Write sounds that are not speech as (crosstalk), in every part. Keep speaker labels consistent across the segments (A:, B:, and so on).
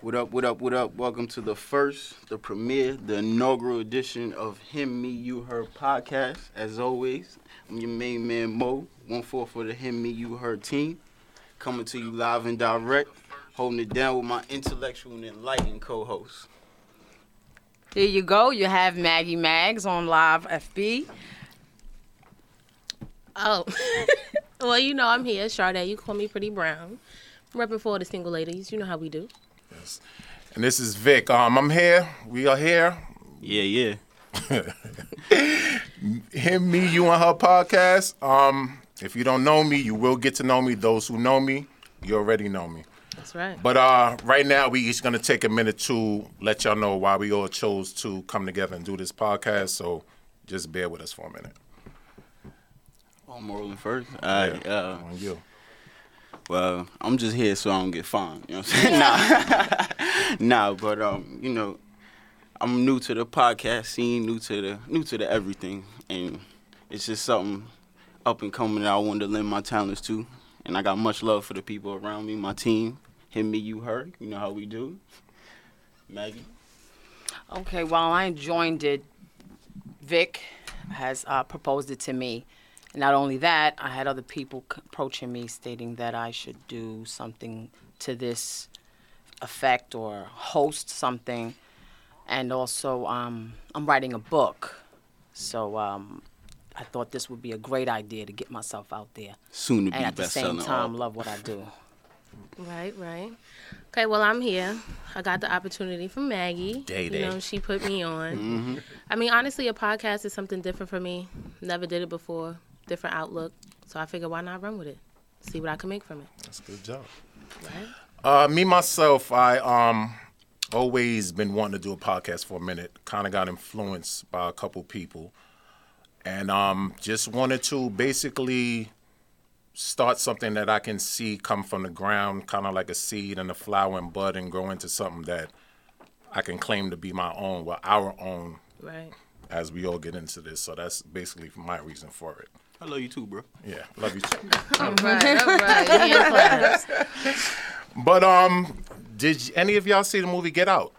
A: What up, what up, what up? Welcome to the first, the premiere, the inaugural edition of Him, Me, You, Her podcast. As always, I'm your main man, Mo, one four for the Him, Me, You, Her team. Coming to you live and direct, holding it down with my intellectual and enlightened co host.
B: There you go. You have Maggie Mags on live FB.
C: Oh, (laughs) well, you know I'm here, Sade. You call me Pretty Brown. I'm repping for all the single ladies. You know how we do.
D: And this is Vic. Um, I'm here. We are here. (laughs)
A: Yeah, yeah.
D: Him, me, you, and her podcast. Um, if you don't know me, you will get to know me. Those who know me, you already know me.
C: That's right.
D: But uh, right now, we each gonna take a minute to let y'all know why we all chose to come together and do this podcast. So just bear with us for a minute.
A: Oh, I'm rolling first. All right, uh,
D: On you.
A: Well, I'm just here so I don't get fined. You know what I'm saying? nah. (laughs) nah, but um, you know, I'm new to the podcast scene, new to the new to the everything. And it's just something up and coming that I wanted to lend my talents to. And I got much love for the people around me, my team. Him, me, you, her. You know how we do. Maggie.
B: Okay, while I joined it, Vic has uh, proposed it to me. And not only that, I had other people c- approaching me stating that I should do something to this effect or host something. And also, um, I'm writing a book. So um, I thought this would be a great idea to get myself out there.
A: Soon to be
B: And at the same
A: best-selling
B: time,
A: author.
B: love what I do.
C: Right, right. Okay, well, I'm here. I got the opportunity from Maggie.
D: Day
C: You
D: day. Mm-hmm.
C: know, she put me on. I mean, honestly, a podcast is something different for me. Never did it before. Different outlook. So I figured, why not run with it? See what I can make from it.
D: That's a good job.
C: Right?
D: Uh, me myself, I um always been wanting to do a podcast for a minute. Kind of got influenced by a couple people, and um just wanted to basically start something that I can see come from the ground, kind of like a seed and a flower and bud, and grow into something that I can claim to be my own, well, our own,
C: Right.
D: as we all get into this. So that's basically my reason for it.
A: I love you too, bro.
D: Yeah, love you. Too.
C: Right, (laughs) all right. Hand claps.
D: But um, did y- any of y'all see the movie Get Out?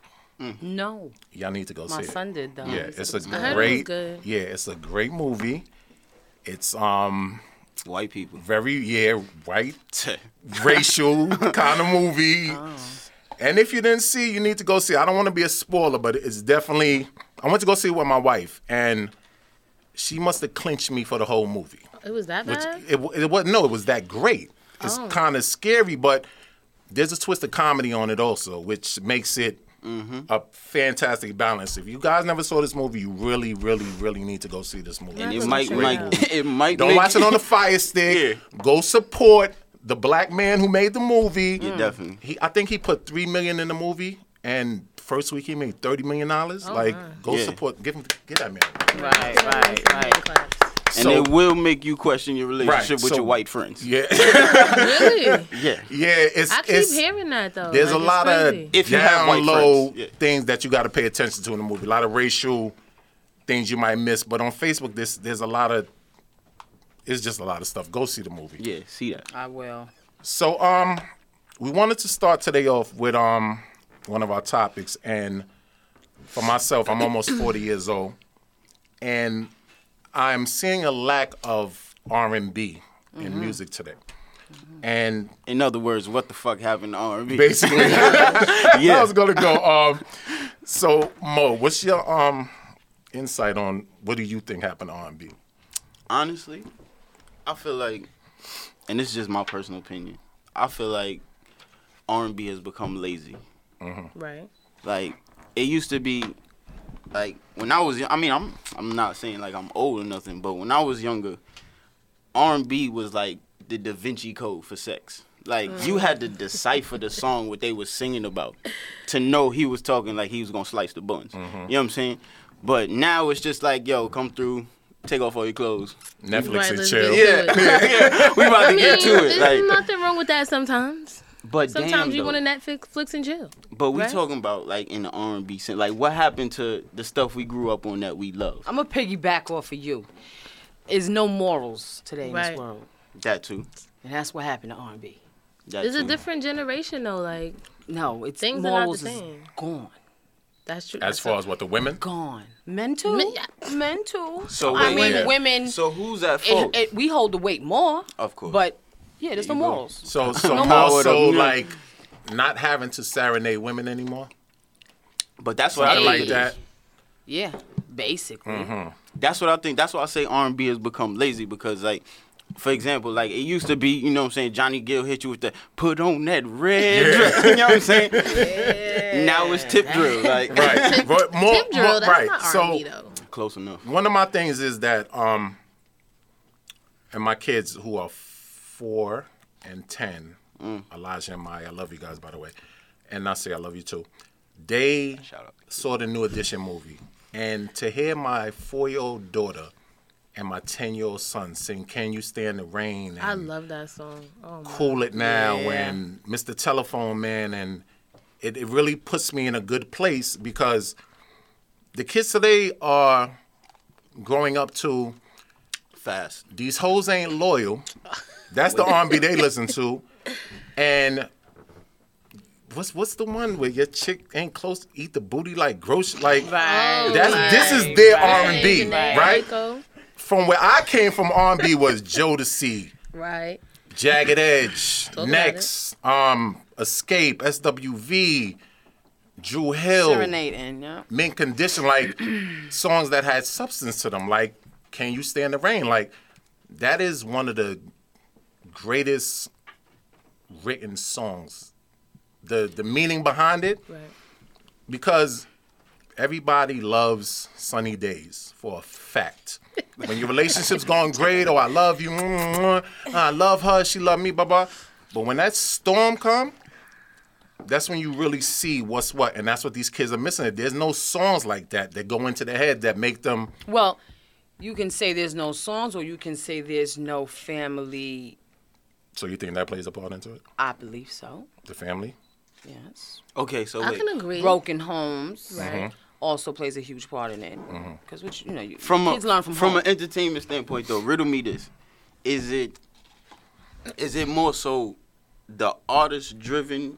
B: No,
D: Y'all need to go
B: my
D: see it.
B: son did though.
D: Yeah, it's a
C: heard it was
D: great.
C: good.
D: Yeah, it's a great movie. It's um
A: White people.
D: very yeah
A: (laughs)
D: white racial kind of movie.
A: Oh.
D: And if you didn't see, you need to go see. it. I don't want to be a spoiler, but it's definitely. I went to go see it with my wife, and she must have clinched me for the whole movie.
C: It was that
D: Which
C: bad?
D: it, wa- it wasn't. No, it was that great. It's
A: Oh.
D: kind of scary, but there's a twist of comedy on it also, which makes it
A: Mm-hmm.
D: a fantastic balance. If you guys never saw this movie, you really, really, really need to go see this movie.
A: And
C: That's
A: it
C: what
A: might,
C: you
A: might, (laughs) it might.
D: Don't
A: make-
D: watch it on
A: (laughs)
D: the fire stick. Go support the black man who made the movie. Mm.
A: Yeah, definitely.
D: He, I think he put three million in the movie, and first week he made thirty million dollars. like, go
A: Oh, Yeah.
D: support. Give him, get that man.
B: Right, right, right.
C: Hand claps.
A: And
D: So-
A: it will make you question your relationship with
D: so-
A: your white
D: (laughs)
A: friends.
D: Yeah,
C: Really?
A: Yeah.
D: yeah. It's
C: I keep
D: it's,
C: hearing that though.
D: There's
C: Like,
D: a
C: it's
D: lot
C: crazy.
D: of
A: If you have white
D: down low
A: friends, yeah.
D: things that you got to pay attention to in the movie. A lot of racial things you might miss, but on Facebook, this there's a lot of it's just a lot of stuff. Go see the movie.
A: Yeah, see that.
B: I will.
D: So um, we wanted to start today off with um one of our topics, and for myself, I'm almost 40 years old, and I'm seeing a lack of R&B
A: Mm-hmm.
D: in music today, and
A: In other words, what the fuck happened to
D: (laughs)
A: R&B?
B: (laughs)
D: basically. I
A: yeah.
D: was gonna go. Um, so Mo, what's your um insight on what do you think happened to R&B?
A: Honestly, I feel like, and this is just my personal opinion. I feel like R&B has become lazy.
C: right.
A: Like it used to be, like when I was, yo- I mean, I'm, I'm not saying like I'm old or nothing, but when I was younger, R&B was like the Da Vinci Code for sex. Like you had to decipher the song what they was singing about to know he was talking like he was gonna slice the buns. You know what I'm saying? But now it's just like, yo, come through, take off all your clothes.
D: Netflix
C: Right,
D: and
C: let's
D: chill.
C: get to
D: (laughs)
A: (laughs)
C: it.
A: We about
C: I
A: to
C: mean,
A: get to
C: there's
A: it. Like,
C: nothing wrong with that sometimes.
A: but
C: Sometimes
A: damn,
C: you
A: though.
C: want to Netflix flicks and chill.
A: But we
C: right?
A: talking about like in the R and B sense, like what happened to the stuff we grew up on that we love?
B: I'm gonna piggyback off of you. Is no morals today in
C: Right.
B: this world,
A: That too.
B: and that's what happened to R&B.
A: That
C: It's a
A: too.
C: different generation though. Like
B: no, it's
C: Things are not the
B: morals is
C: same.
B: gone,
C: That's true.
D: As
C: That's
D: far as what the women,
B: gone. Men too,
C: Men-
B: men, too.
A: So
B: I
A: wait,
B: mean,
D: yeah.
B: women.
A: So who's at fault?
B: it, it, we hold the weight more,
A: Of course.
B: but yeah, there's
A: There
B: no
A: you go.
B: morals.
D: so so
B: more.
D: also
A: Yeah.
D: like not having to serenade women anymore,
A: but that's what I Mm.
D: something
A: think
D: like
A: it
D: that.
A: is.
B: Yeah, basically.
D: Mm-hmm.
A: That's what I think. That's why I say R and B has become lazy because like. For example, like it used to be, you know what I'm saying, Johnny Gill hit you with the put on that red dress. (laughs) You know what I'm
C: (laughs)
A: saying? Now it's tip drill, like
D: (laughs)
A: (laughs)
D: Right, but more,
C: Tip drill,
D: more-
C: that's
D: right.
C: not
D: so
C: R&B though.
A: close enough.
D: one of my things is that um and my kids who are four and ten
A: Mm.
D: elijah and maya i love you guys by the way and i say i love you too they
A: Shout out.
D: saw the new edition movie and to hear my four-year-old daughter and my 10-year-old son sing can you stand the rain
C: I
D: and
C: love that song. Oh my.
D: cool it now
B: Yeah.
D: and mr telephone man and it, it really puts me in a good place because the kids today are growing up to
A: Fast.
D: these hoes ain't loyal. That's the R&B they listen to. And what's what's the one where your chick ain't close? Eat the booty like gross. Like
C: Oh
B: Right.
D: that's
B: right,
D: this is their
B: right,
D: R&B, right?
B: right.
C: Draco.
D: From where I came from, R&B was Jodeci,
C: Right.
D: Jagged Edge,
C: about
D: Next, um, Escape, SWV, Drew Hill,
B: Serenading, yeah.
D: mint condition, like (clears throat) songs that had substance to them, like "Can You Stand the Rain?" Like that is one of the greatest written songs. The the meaning behind it,
C: Right.
D: because everybody loves sunny days for a fact. When your relationship's going great, oh I love you, mwah, mwah, I love her, she love me, blah blah. But when that storm come, that's when you really see what's what, and that's what these kids are missing. There's no songs like that that go into their head that make them
B: Well, you can say there's no songs, or you can say there's no family.
D: So you think that plays a part into it?
B: I believe so.
D: The family?
B: Yes.
A: Okay, so
C: I
A: wait.
C: can agree.
B: Broken homes
D: Mm-hmm.
C: Right.
B: also plays a huge part in it. Because what you you know, you,
A: from a,
B: kids learn from, home.
A: an entertainment standpoint though riddle me this is it is it more so the artist driven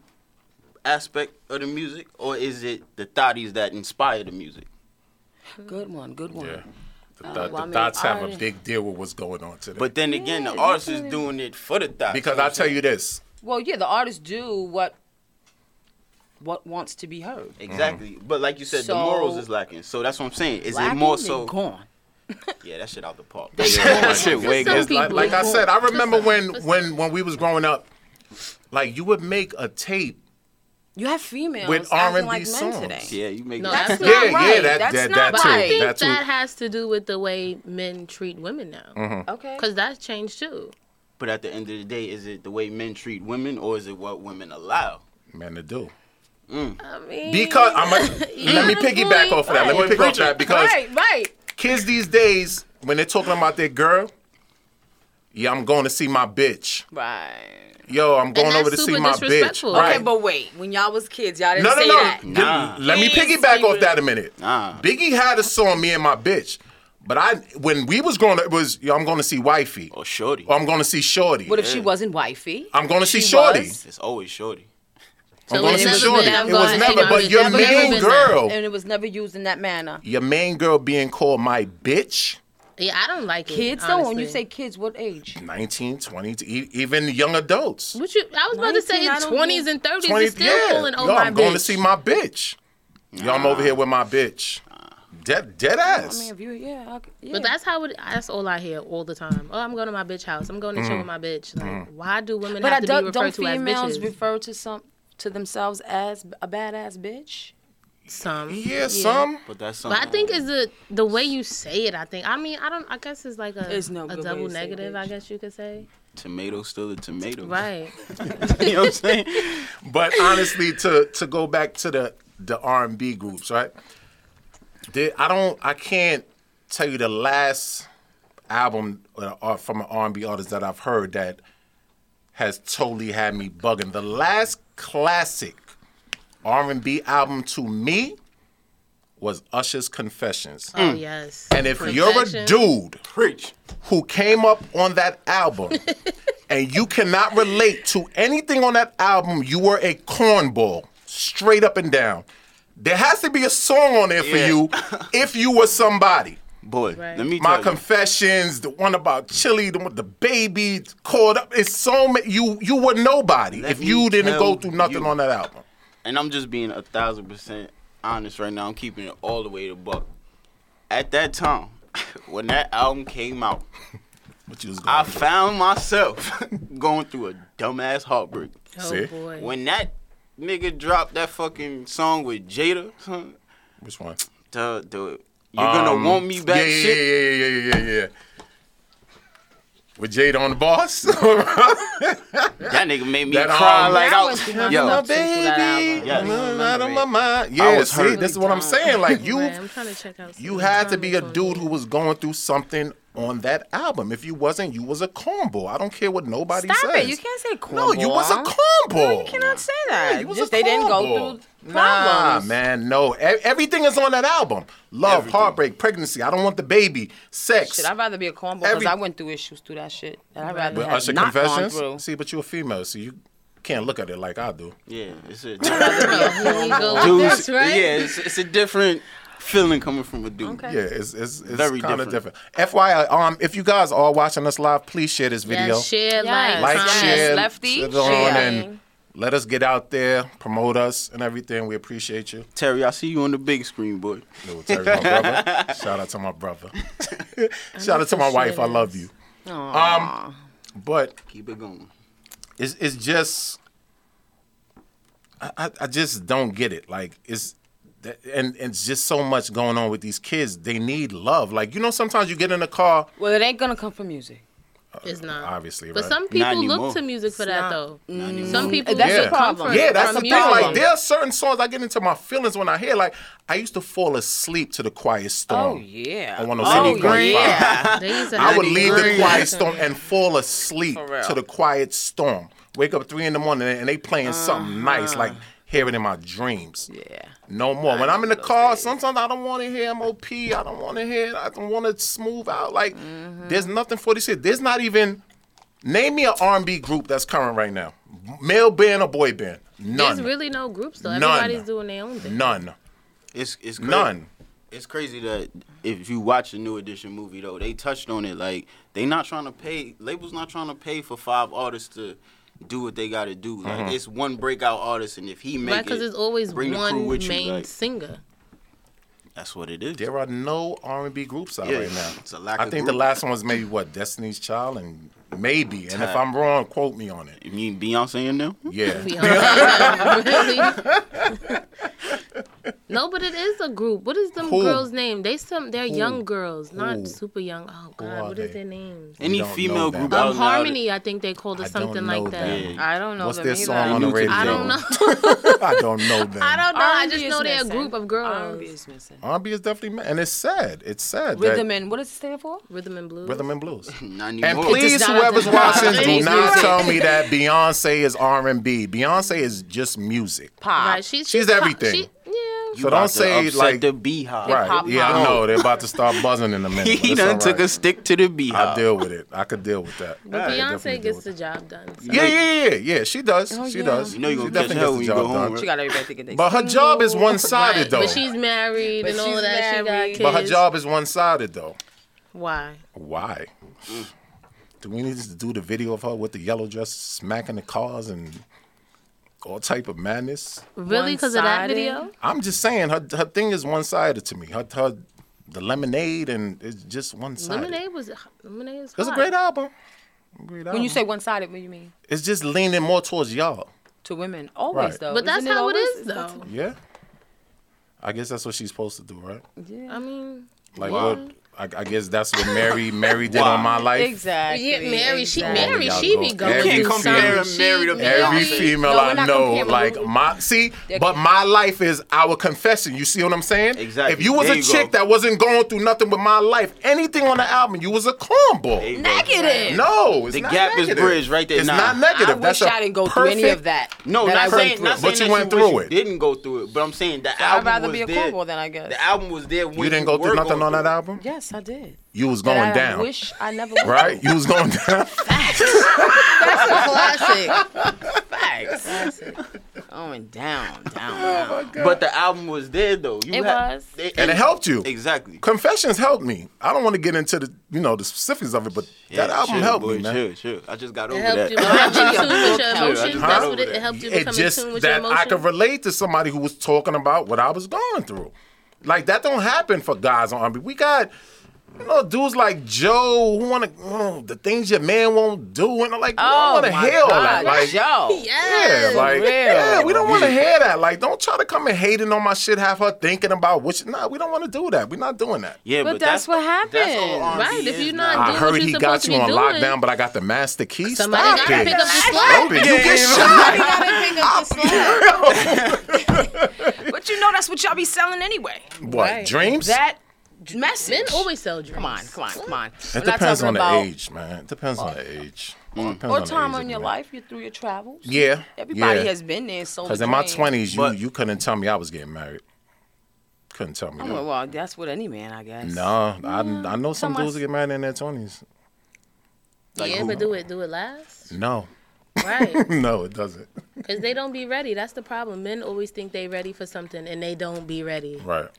A: aspect of the music or is it the thotties that inspire the music
B: good one. Good one.
D: Yeah. The,
B: Oh,
D: th-
B: well, I
D: the
B: mean,
D: thoughts have a
B: already-
D: big deal with what's going on today.
A: but then again the
B: Yeah,
A: artist is
B: definitely.
A: doing it for the thotties
D: because I tell you this,
B: Well, yeah, the artists do what what wants to be heard.
D: Mm-hmm.
A: exactly but like you said the
B: So-
A: morals is lacking so that's what i'm saying is it
B: Lacking,
A: more
B: they
A: so
B: gone.
A: yeah that shit out the park
D: Yeah,
A: (laughs) that shit
D: like,
A: way
D: it's
C: some
A: good
D: just like,
C: people.
D: like I said, I
C: Just
D: remember
C: some-
D: when
C: just
D: when when we was growing up, like you would make a tape.
B: You have females
D: With R&B
B: acting like
D: songs.
B: men today.
A: yeah you make
C: No,
A: that
C: that's
A: shit.
C: not
D: yeah, yeah,
B: right.
D: that
B: That's
D: that,
B: not
D: that
C: But I
D: too.
C: think
D: That too. Mm-hmm.
C: that has to do with the way men treat women now,
B: Okay.
C: because that's changed too.
A: but at the end of the day is it the way men treat women or is it what women allow Mm.
D: Man, to do.
C: I mean,
D: Because I'm a,
C: (laughs) You
D: let me
C: got a
D: piggyback
C: point.
D: off of that. Let me
A: Right.
D: pick off that because
B: Right, right.
D: kids these days, when they're talking about their girl, yeah, I'm going to see my bitch.
B: Right.
D: Yo, I'm going
C: that's
D: over to see
C: super
D: my bitch.
C: disrespectful.
D: Right.
B: Okay, but wait. When y'all was kids, y'all didn't
D: No, no,
B: say
D: no.
B: that.
D: Th-
A: Nah.
D: Let me
B: Please,
D: piggyback
B: we
D: off
B: would-
D: that a minute.
A: Nah.
D: Biggie had a song, "Me and My Bitch," but I, when we was growing up, it was yo, I'm going to see Wifey,
A: or Oh, shorty
D: or I'm going to see Shorty.
B: What if she wasn't wifey?
D: I'm going to see
B: she
D: Shorty.
B: was?
A: it's always shorty
D: I'm
C: So
D: going
C: it's
D: to see
C: never
D: Shorty.
C: been, I'm
D: It
C: going
D: was
C: to see
D: never,
C: my
D: but
C: bitch.
D: your
C: Never
D: main
C: been that.
D: girl,
B: And it was never used in that manner.
D: your main girl being called my bitch,
C: Yeah, I don't like it.
B: Kids though, when you
C: honestly.
B: say kids, what age?
D: 19, 20, e- even young adults.
C: What you, I was about to say
B: 19, I
C: in
B: don't
C: twenties and thirties,
D: 20,
C: it's still
D: yeah.
C: calling. Oh
D: Yo,
C: my
D: I'm going
C: bitch.
D: to see my bitch. Yo, I'm over here with my bitch. Dead, dead ass.
B: I mean, if you, yeah, I, c- yeah.
C: But that's how it. That's all I hear all the time. Oh, I'm going to my bitch house. I'm going to
D: Mm.
C: chill with my bitch. Like, why do women
B: But I
C: have to be
B: don't,
C: referred
B: don't
C: to as
B: females
C: bitches?
B: refer to some to themselves as a badass bitch?
C: Some.
D: yeah, some.
A: but that's something
C: But I think it's the the way you say it. I think. I mean, I don't. I guess it's like a
B: It's no
C: a
B: good way
C: double
B: to say
C: negative. I
B: bitch.
C: guess you could say.
A: tomato still a tomato
D: Mm. (laughs)
C: Right.
A: you know what i'm saying
D: But honestly, to to go back to the the R and B groups, right? There- I don't, I can't tell you the last album uh, or from an R and B artist that I've heard that has totally had me bugging. The last classic R and B album to me was Usher's Confessions.
C: Oh yes.
D: Mm. And if you're a
C: Perfection.
D: dude
A: preach
C: (laughs)
D: who came up on that album and you cannot relate to anything on that album, you were a cornball, straight up and down. There has to be a song on there for
A: Yeah. (laughs)
D: you if you were somebody.
A: Boy,
C: Right.
A: let me tell
D: My
A: you.
D: confessions, the one about Chili, the one with the baby caught up. It's so many. You you were nobody
A: Let
D: if
A: me
D: you didn't go
A: tell
D: through nothing
A: you.
D: on that album.
A: and I'm just being a thousand percent honest right now. I'm keeping it all the way to buck. At that time, (laughs) when that album came out,
D: (laughs) What you was
A: I
D: going through.
A: found myself (laughs) going through a dumbass heartbreak.
C: Oh
D: See?
C: boy.
A: When that nigga dropped that fucking song with Jada, huh,
D: Which one?
A: duh, duh, you're gonna
D: Um,
A: want me back.
D: Yeah, yeah,
A: shit.
D: yeah, yeah, yeah, yeah, yeah. With Jada on the boss. (laughs)
A: That nigga made me
D: That,
A: cry
D: um,
A: like
B: That
A: I
B: was
A: was.
B: the one
A: Yo,
B: that- baby,
A: Yes.
D: I'm out of my mind. Yeah,
A: was
D: see,
A: hurt.
D: this is what I'm saying. Like you,
C: Right, I'm trying to check out.
D: you
C: some
D: had to be a
C: comments on
D: dude
C: it.
D: who was going through something on that album. If you wasn't, you was a cornball. I don't care what nobody
B: Stop
D: says.
B: it. You can't say cornball.
D: No, you was a cornball.
B: You cannot say that.
D: Yeah, you was
B: Just
D: a
B: they didn't go
D: cornball.
B: through
D: Nah,
B: problems.
D: man, no. E- everything is on that album. Love,
A: Everything.
D: heartbreak, pregnancy. I don't want the baby, sex.
B: Shit, I'd rather be a cornball because
D: Every-
B: I went through issues through that shit. That I'd rather
D: But
B: have
D: Usher
B: not
D: confessions.
B: gone through.
D: See, but you're a female, so you can't look at it like I do.
A: Yeah, it's (laughs) a
C: When you go like
A: dude's,
C: this, right?
A: Yeah, it's, it's a different feeling coming from a dude.
B: Okay.
D: Yeah, it's it's, it's
A: Very
D: kind of different.
A: different.
D: FYI, um, if you guys are watching us live, please share this video.
C: Yeah, share,
B: Yes.
D: like,
C: like,
B: Yes.
C: comment.
D: share,
B: Lefty,
D: sit on
B: share.
D: and let us get out there, promote us, and everything. We appreciate you.
A: Terry, I see you on the big screen, boy.
D: Little Terry, my
A: (laughs)
D: brother. Shout out to my brother. (laughs) Shout out to my wife. I love you. Um, but
A: Keep it going.
D: it's it's just I, I- I just don't get it. Like it's that- and and it's just so much going on with these kids. They need love. Like you know, sometimes you get in a car.
B: Well, it ain't gonna come from music.
C: It's not.
D: Obviously,
C: But
D: right?
C: some
A: Not
C: people
A: anymore.
C: look to music for that,
B: not.
C: though.
A: anymore.
C: Some people
B: That's
D: the
C: get
B: problem.
C: comfort
D: Yeah, that's the
C: from
D: thing.
C: music.
D: Like there are certain songs I get into my feelings when I hear. Like I used to fall asleep to the Quiet Storm.
B: Oh yeah.
D: I want to
B: oh, yeah.
C: They used to
D: (laughs) I
C: have
D: would
C: these
D: leave the
C: great
D: quiet
C: songs.
D: storm and fall asleep
B: For real.
D: to the quiet storm. Wake up at three in the morning and they playing something nice, like
C: Uh-huh.
D: hear it in my dreams.
B: yeah.
D: No more. When I'm in the car, sometimes I don't want to hear MOP. I don't want to hear. I don't want to smooth out. Like
C: Mm-hmm.
D: there's nothing for this shit. There's not even. Name me an R&B group that's current right now. Male band or boy band? None.
C: There's really no groups, though.
D: None.
C: Everybody's doing their own thing.
D: None.
A: It's it's crazy.
D: None.
A: It's crazy that if you watch the new edition movie though, they touched on it. Like they not trying to pay labels not trying to pay for five artists to do what they got to do. Like
D: Mm-hmm.
A: it's one breakout artist, and if he make
C: Right?
A: it,
C: Because there's always
A: bring the crew
C: one
A: with you,
C: main
A: like-
C: singer.
A: that's what it is.
D: There are no R and B groups out
A: Yeah,
D: right now.
A: it's a lack
D: I
A: of
D: think the
A: group.
D: last one was maybe what Destiny's Child and maybe. And if
A: Time.
D: I'm wrong, quote me on it.
A: You mean Beyonce in them?
C: (laughs)
D: Yeah.
C: Be honest. Really? no, but it is a group. What is them
D: Who?
C: girls' name? They some they're young girls, not
D: Who?
C: super young. Oh
D: are
C: God, what
D: they?
C: is their names?
A: Any
D: don't know
A: female
D: that.
A: group?
D: Um,
C: Um,
A: out now that-
C: Harmony, I think they called
D: I
C: it
D: don't
C: something
D: know
C: like that.
D: them.
B: I don't know
D: What's
B: them
D: their
B: either.
D: song on the
A: New to
D: radio?
A: the
C: I don't
D: (laughs)
C: know.
D: I don't know them.
C: (laughs) I don't know. Oh, I
B: R&B
C: just
B: is
C: know they're a
B: missing.
C: group of
B: R&B
C: girls.
B: is missing.
D: R&B is definitely ma- and it's sad. It's sad. that-
B: Rhythm and what does it stand for?
C: Rhythm and blues.
D: rhythm and blues.
A: (laughs) Not
D: And
A: anymore.
D: please,
B: It's not
D: whoever's
B: rhythm and blues.
D: watching, do
B: It's
D: not
B: music.
D: tell me that Beyonce is R and B. Beyonce is just music.
B: Pop.
C: Right, she's
D: She's
C: pop-
D: everything.
C: she- yeah.
D: So
A: About
D: don't
A: to
D: say
A: upset
D: like
A: the beehive.
D: right.
B: pop
D: Yeah, I
B: out.
D: know they're about to start buzzing in a minute. but
A: (laughs) He
D: it's
A: done
D: all
A: took
D: right.
A: a stick to the beehive.
D: I deal with it. I could deal with that.
C: But
D: I could definitely
C: Beyonce
D: deal
C: gets
D: with
C: the
D: that.
C: job done. so.
D: Yeah, yeah, yeah, yeah. She does.
B: Oh,
D: she
B: yeah.
D: does.
A: You know you
D: She
A: gonna
D: definitely gets
A: catch
D: the
A: hell when you
D: job
A: go home,
D: done.
A: right?
B: She got everybody thinking they.
D: But her job is one sided
C: Right,
D: though.
C: But she's married
B: But
C: and all
B: she's
C: of that. She got
B: married.
C: kids.
D: But her job is one sided though.
C: Why?
D: Why? Do we need to do the video of her with the yellow dress smacking the cars and all type of madness?
C: Really? Because of that
B: One-sided.
C: video?
D: I'm just saying her her thing is one sided to me. Her her the lemonade and it's just one sided.
C: Lemonade was Lemonade was.
D: It's a
C: hot.
D: great album. Great
B: when
D: album.
B: you say one sided, what do you mean?
D: it's just leaning more towards y'all.
B: To women, always
D: Right.
B: though.
C: But that's
B: Isn't
C: how it
B: always-
C: is,
B: it's not-
C: though.
D: Yeah. I guess that's what she's supposed to do, right?
B: Yeah.
C: I mean,
D: Like
C: Yeah.
D: what? I, I guess that's what Mary Mary did on my life.
B: Exactly.
C: yeah, Mary, she
B: exactly.
D: Mary,
C: Mary,
D: y'all
C: she
D: go-
C: be going
D: You can't
C: through
A: compare
C: something.
A: Mary to
C: She be
A: Mary.
D: Every
C: on it.
D: female
B: No, we're
D: I
B: not
D: know,
B: comparing.
D: like
B: We're-
D: my see,
B: They're-
D: but my life is our confession. You see what I'm saying?
A: Exactly.
D: If you was
A: There
D: a
A: you
D: chick
A: go.
D: that wasn't going through nothing with my life, anything on the album, you was a cornball.
B: Negative.
D: No, it's
A: The
D: not
A: gap is
D: negative.
A: bridged right there.
D: It's
A: Nah.
D: not negative.
B: I
D: That's
B: wish
D: a
B: I didn't go through any
D: perfect-
B: of that.
A: No,
B: that
A: not
B: I
A: saying,
D: But
A: not saying
D: you
A: that
D: went
A: wish
D: through
A: you
D: it.
A: Didn't go through it, but I'm saying the
B: I'd
A: album
B: rather
A: was
B: be a
A: there.
B: cornball than I guess.
A: The album was there when
D: You didn't go
A: were
D: through nothing
A: going
D: on that
A: through it.
D: album.
B: Yes, Yes, I did.
D: You was going
B: That I
D: down,
B: wish I never would.
D: right? You was going (laughs) down.
A: (laughs)
C: That's a classic.
B: Facts.
C: classic.
A: (laughs)
B: Going down, down, down.
A: Oh But the album was there though. You
C: It
A: had-
C: was.
A: they-
D: and it helped you.
A: Exactly.
D: Confessions helped me. I don't want to get into the you know the specifics of it, but that
A: Yeah,
D: album
A: chill,
D: helped
A: boy,
D: me, man.
A: Chill, chill. I just got
C: It
A: over
C: helped
A: that. (laughs)
C: you become in tune with your emotions.
A: Huh?
C: That's what it, it helped you
D: It
C: become in
D: just
C: tune with your
D: that I could
C: emotions.
D: relate to somebody who was talking about what I was going through. Like that don't happen for guys on R&B. We got you know dudes like Joe who want to oh, the things your man won't do, and I'm like
B: Oh,
D: we don't want to
B: my
D: hear all that.
B: God.
D: Like,
B: Joe.
C: Yes.
D: yeah, like
B: real.
D: yeah, we don't want to hear that. Like, don't try to come and hating on my shit. Have her thinking about what. She, nah, we don't want to do that. We're not doing that.
A: Yeah,
B: But that's what
A: That's all
B: happened.
A: R&B
C: Right, if
A: is
C: you're
A: now.
C: not
D: I
C: Do what
D: heard
C: you
D: he
C: supposed
D: got
C: to
D: you
C: be
D: on
C: doing.
D: lockdown, but I got the master key.
C: Somebody
D: Stop
C: gotta
D: it.
C: pick up the slack.
D: Stop it. You get shot.
C: Somebody gotta pick up the slack.
D: (laughs)
B: But you know that's what y'all be selling anyway.
D: What
C: Right.
D: dreams?
B: That message.
C: Men always sell dreams.
B: Come on, come on, come on.
D: it
B: (laughs) We're not
D: depends
B: talking
D: on the
B: about-
D: age, man. It depends on the age.
B: Or time in your life, you through your travels.
D: Yeah.
B: Everybody
D: yeah.
B: has been there. So
D: Because in my twenties, you
A: But-
D: you couldn't tell me I was getting married. Couldn't tell me.
B: Well,
D: that.
B: oh, well, that's with any man, I guess.
D: No, I, I know some
B: Someone-
D: dudes that get married in their twenties.
A: Like
C: yeah,
A: who?
C: but do it, do it last,
D: No, (laughs)
C: right?
D: no, it doesn't.
C: Because they don't be ready. That's the problem. Men always think they ready for something, and they don't be ready.
D: Right.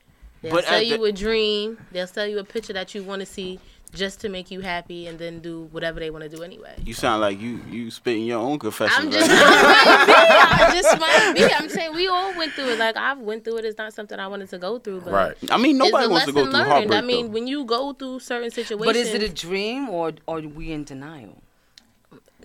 C: They'll
A: But
C: sell
A: at
C: you
A: the-
C: a dream. They'll sell you a picture that you want to see just to make you happy, and then do whatever they want to do anyway.
A: You sound like you you spitting your own confessions.
C: I'm just,
D: (laughs)
A: right
C: I just might be. I just might be. I'm saying we all went through it. Like I've went through it. It's not something I wanted to go through, but
D: Right.
A: now. I mean,
C: it's
A: nobody
C: a
A: wants to
C: lesson
A: go through
C: learned.
A: heartbreak.
C: I mean,
A: though.
C: when you go through certain situations,
B: But is it a dream or or are we in denial?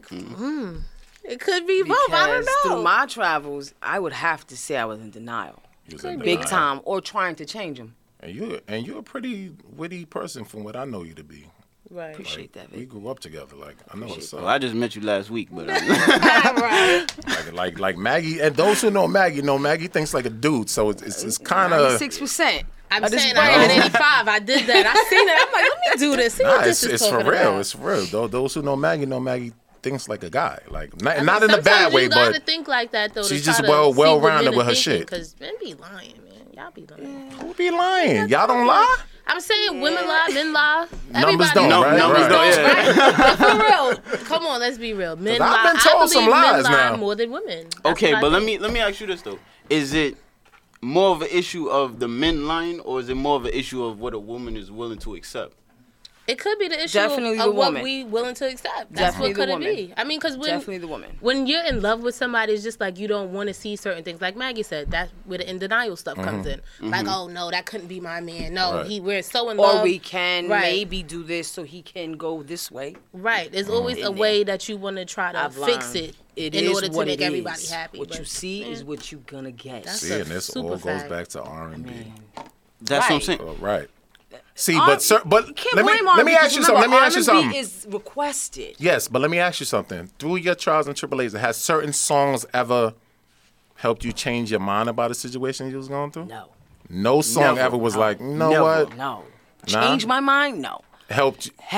C: Hmm. It could be both. I don't
B: Because Through
C: know.
B: my travels, I would have to say I was in denial,
D: You was in
B: big
D: denial.
B: time, or trying to change them.
D: And you and you're a pretty witty person from what I know you to be.
C: right.
B: Appreciate that.
D: We
B: Vic.
D: grew up together. Like I know it's
A: well,
D: (laughs)
A: I just met you last week, but um,
C: (laughs)
D: like like like Maggie. And those who know Maggie know Maggie thinks like a dude. So it's it's, it's kind of
B: Six percent.
C: I'm
B: I just
C: saying I am
B: brain.
C: at 85. I did that. I seen it. I'm like, let me do
B: (laughs)
C: this. See what
D: Nah,
C: this
D: it's,
C: is
D: it's for
C: talking
D: real.
C: about.
D: It's for real. Those, those who know Maggie know Maggie thinks like a guy. Like not, not in
C: Sometimes
D: a bad way,
C: you gotta
D: but
C: think like that though. to
D: she's just
C: try to
D: well-
C: see what men
D: well-rounded
C: are
D: with her
C: thinking,
D: shit.
C: Cause men be lying, man. Y'all be lying.
D: who be lying? Y'all don't Mm, lie.
C: I'm saying women lie, men lie. Everybody
D: Numbers don't.
A: No,
D: right?
A: numbers
D: right.
A: don't, yeah.
D: (laughs)
C: But for real, come on, let's be real. Men
D: 'Cause I've
C: lie.
D: been told
C: I believe
D: some lies
C: men lie
D: now.
C: more than women.
A: (laughs)
C: That's
A: okay,
C: what I
A: but let
C: think.
A: me let me ask you this though: Is it more of an issue of the men lying, or is it more of an issue of what a woman is willing to accept?
C: It could be the issue
B: Definitely
C: of
B: the
C: what
B: woman.
C: we willing to accept. That's
B: Definitely the
C: what could it
B: woman.
C: be. I mean, because when
B: Definitely the woman.
C: when you're in love with somebody, it's just like you don't want to see certain things. Like Maggie said, that's where the in denial stuff comes in. Like, oh no, that couldn't be my man. No,
D: Mm-hmm. Right.
C: he we're so in love.
B: Or we can
C: Right.
B: maybe do this so he can go this way.
C: Right.
D: Mm-hmm.
C: There's always a
B: In
C: way that you want to try to
B: I've
C: fix
B: learned.
C: it,
B: It
C: in
B: is
C: order to
B: what
C: make
B: it
C: everybody
B: is.
C: happy.
B: What you
C: but-
B: see is
C: Yeah.
B: what you gonna get.
C: That's
D: See,
C: a
D: and this
C: super
D: all goes
C: fact.
D: back to R and B.
A: That's what I'm
B: Right.
A: saying.
D: Right. See,
B: R-
D: but sir,
B: you
D: but
B: can't
D: let me
B: blame
D: let me
B: R&B
D: ask you
B: because
D: something. Let me
B: remember,
D: ask you
B: R&B
D: something.
B: Is requested.
D: Yes, but let me ask you something. Through your trials and tribulations, has certain songs ever helped you change your mind about a situation you was going through?
B: No,
D: No song
A: Never. Uh,
D: ever was like, you know
A: Never.
D: what?
B: no.
D: Nah.
B: Change my mind? No.
D: Helped you.
B: He-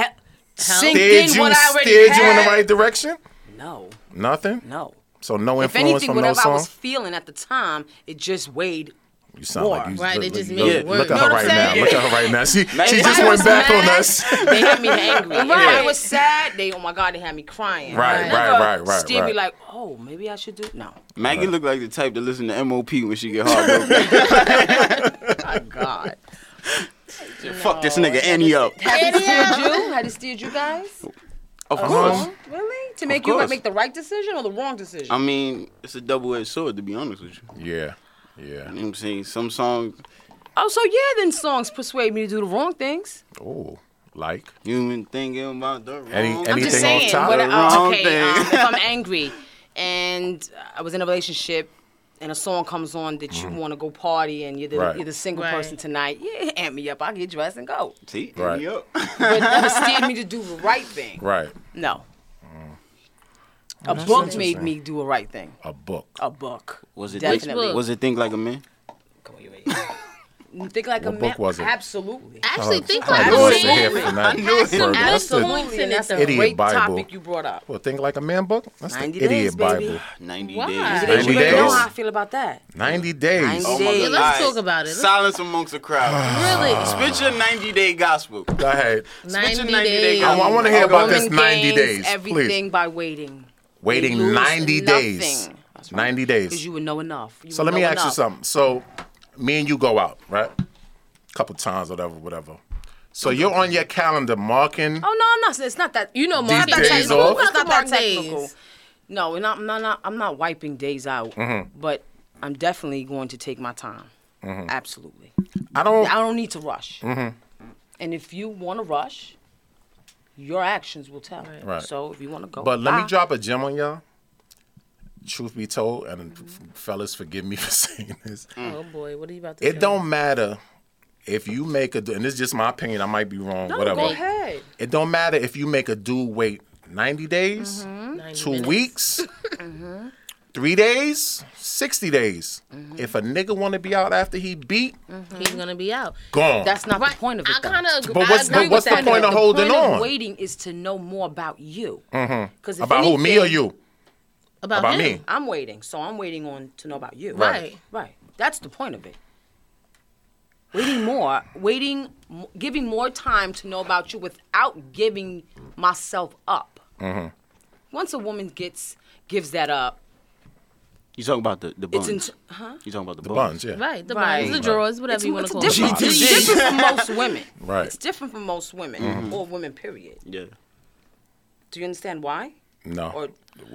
B: sink
D: Steered
B: in
D: you,
B: what I already
D: steered
B: had.
D: you in the right direction?
B: No,
D: Nothing?
B: no.
D: So no
B: If
D: influence
B: anything,
D: from no
B: whatever I
D: song?
B: was feeling at the time, it just weighed.
D: You sound like
B: War.
D: you
C: Right,
D: look,
C: it just
D: look,
C: made
A: it
D: look, look
A: worse.
D: at
A: Know
D: her
A: what
D: right
A: I'm
D: now.
A: saying?
D: Look at her right now. She she
A: if
D: just
A: I
D: went
B: was
D: back on
B: mad-
D: us. (laughs)
B: They had me angry. If I
C: Right.
B: was sad, they oh my god, they had me crying.
D: Right,
B: They
D: right,
B: never
D: right, right,
B: Still be
D: right.
B: like, oh, maybe I should do (laughs) no.
A: Maggie look like the type to listen to MOP when she get heartbroken.
B: (laughs) My God,
A: (laughs) Fuck this nigga Annie up.
B: had it steered you? Had it steered you guys?
A: Of course.
B: Really? To make you
A: course.
B: make the right decision or the wrong decision?
A: I mean, it's a double-edged sword to be honest with you. You
D: Yeah. Yeah.
A: know what I'm saying some songs,
B: oh, so yeah, then songs persuade me to do the wrong things.
D: Oh, like
A: you been thinking about the wrong.
D: Any-
B: I'm
D: any-
B: just
D: Anything on
B: saying.
D: top?
B: What,
D: The
B: uh,
A: wrong
B: okay,
A: thing.
B: um,
A: (laughs)
B: if I'm angry and I was in a relationship and a song comes on that you want to go party and you're the,
D: Mm-hmm. Right.
B: you're the single
C: Right.
B: person tonight, yeah, amp me up. I get dressed and go.
A: See,
D: Right.
A: Annie up.
B: But
A: (laughs)
B: it never steered me to do the right thing.
D: right.
B: No. A book made me do a right thing.
D: Mm. A book.
B: A book.
A: Was it
B: Definitely.
A: Was it think like a man?
B: Come on, you ready? Think like
D: What
B: a
D: book was it?
B: Absolutely.
C: Actually, think
D: I
C: like
D: knew
C: a
D: it's in here
C: man.
D: for nothing. Word, that's the-
B: Absolutely. And that's a
D: Idiot
B: great
D: Bible.
B: topic you brought up.
D: Well, think like a man book. That's the
B: 90
D: idiot
B: days,
D: Bible.
B: baby.
A: 90
C: Why?
A: days.
D: 90
B: you already know
D: days.
B: how I feel about that.
D: Ninety days.
B: 90
A: Oh my
B: days.
C: Yeah,
A: God.
C: let's talk about it. Let's-
A: Silence amongst the
B: (laughs)
A: crowd.
D: Ah.
C: Really?
A: (sighs) Spit your 90 day gospel.
D: Go ahead.
A: Spit your 90
C: 90
A: day
C: days.
D: I,
A: gospel.
D: want to hear
B: A
D: about
B: woman
D: this ninety
B: gains
D: days,
B: Everything
D: please.
B: by waiting. They
D: Waiting
B: lose
D: ninety days.
B: nothing. That's right.
D: Ninety
B: Because
D: days.
B: you would know enough. You
D: So
B: would
D: let me
B: know
D: ask you
B: enough.
D: something. So, me and you go out, right? couple times, whatever, whatever. So you're on your calendar marking.
B: Oh no, I'm not. It's not that. You know,
D: These
B: Mark. It's not
D: days
B: that
D: off?
B: technical. It's not that
C: Mark days.
B: technical. No, and I'm not, not. I'm not wiping days out.
D: Mm-hmm.
B: But I'm definitely going to take my time. Absolutely.
D: I don't.
B: I don't need to rush.
D: Mm-hmm.
B: And if you want to rush, your actions will tell.
D: Right.
B: So if you want to go,
D: But let me
B: bye.
D: drop a gem on y'all. Truth be told, and f- fellas, forgive me (laughs) for saying this.
B: mm.
C: Oh boy, what are you about to?
D: It
C: do?
D: don't matter if you make a, and this is just my opinion. I might be wrong.
B: No,
D: whatever.
B: go (laughs) ahead.
D: It don't matter if you make a dude wait 90 days,
B: Mm-hmm.
C: 90
D: two
C: minutes.
D: weeks, three days, 60 days.
B: Mm-hmm.
D: If a nigga want to be out after he beat,
C: He's gonna be out.
D: gone.
B: That's not
C: Right.
B: the point of it.
C: I
B: though.
C: kind of agree.
D: But what's
C: I agree
D: the- what's
C: with
D: the
C: that.
D: point of holding
B: the point
D: on?
B: Of waiting is to know more about you. Because mm-hmm.
D: about who, me or you?
C: about,
D: about
C: him.
D: me?
B: I'm waiting, so I'm waiting on to know about you.
C: Right.
B: Right. That's the point of it. Waiting more, waiting, m- giving more time to know about you without giving myself up.
D: Mm-hmm.
B: Once a woman gets gives that up,
A: You talking about the, the buns.
B: it's in, huh?
A: you talking about the,
D: The buns, yeah.
C: Right. The
B: Right.
C: buns, the drawers, whatever
B: It's,
C: you want
B: it's
C: to call
B: different.
C: it.
A: GTD.
B: It's different from most women.
D: (laughs) Right. Mm-hmm.
B: It's different from most women or women. Period.
A: Yeah.
B: Do you understand why?
D: No.
B: Or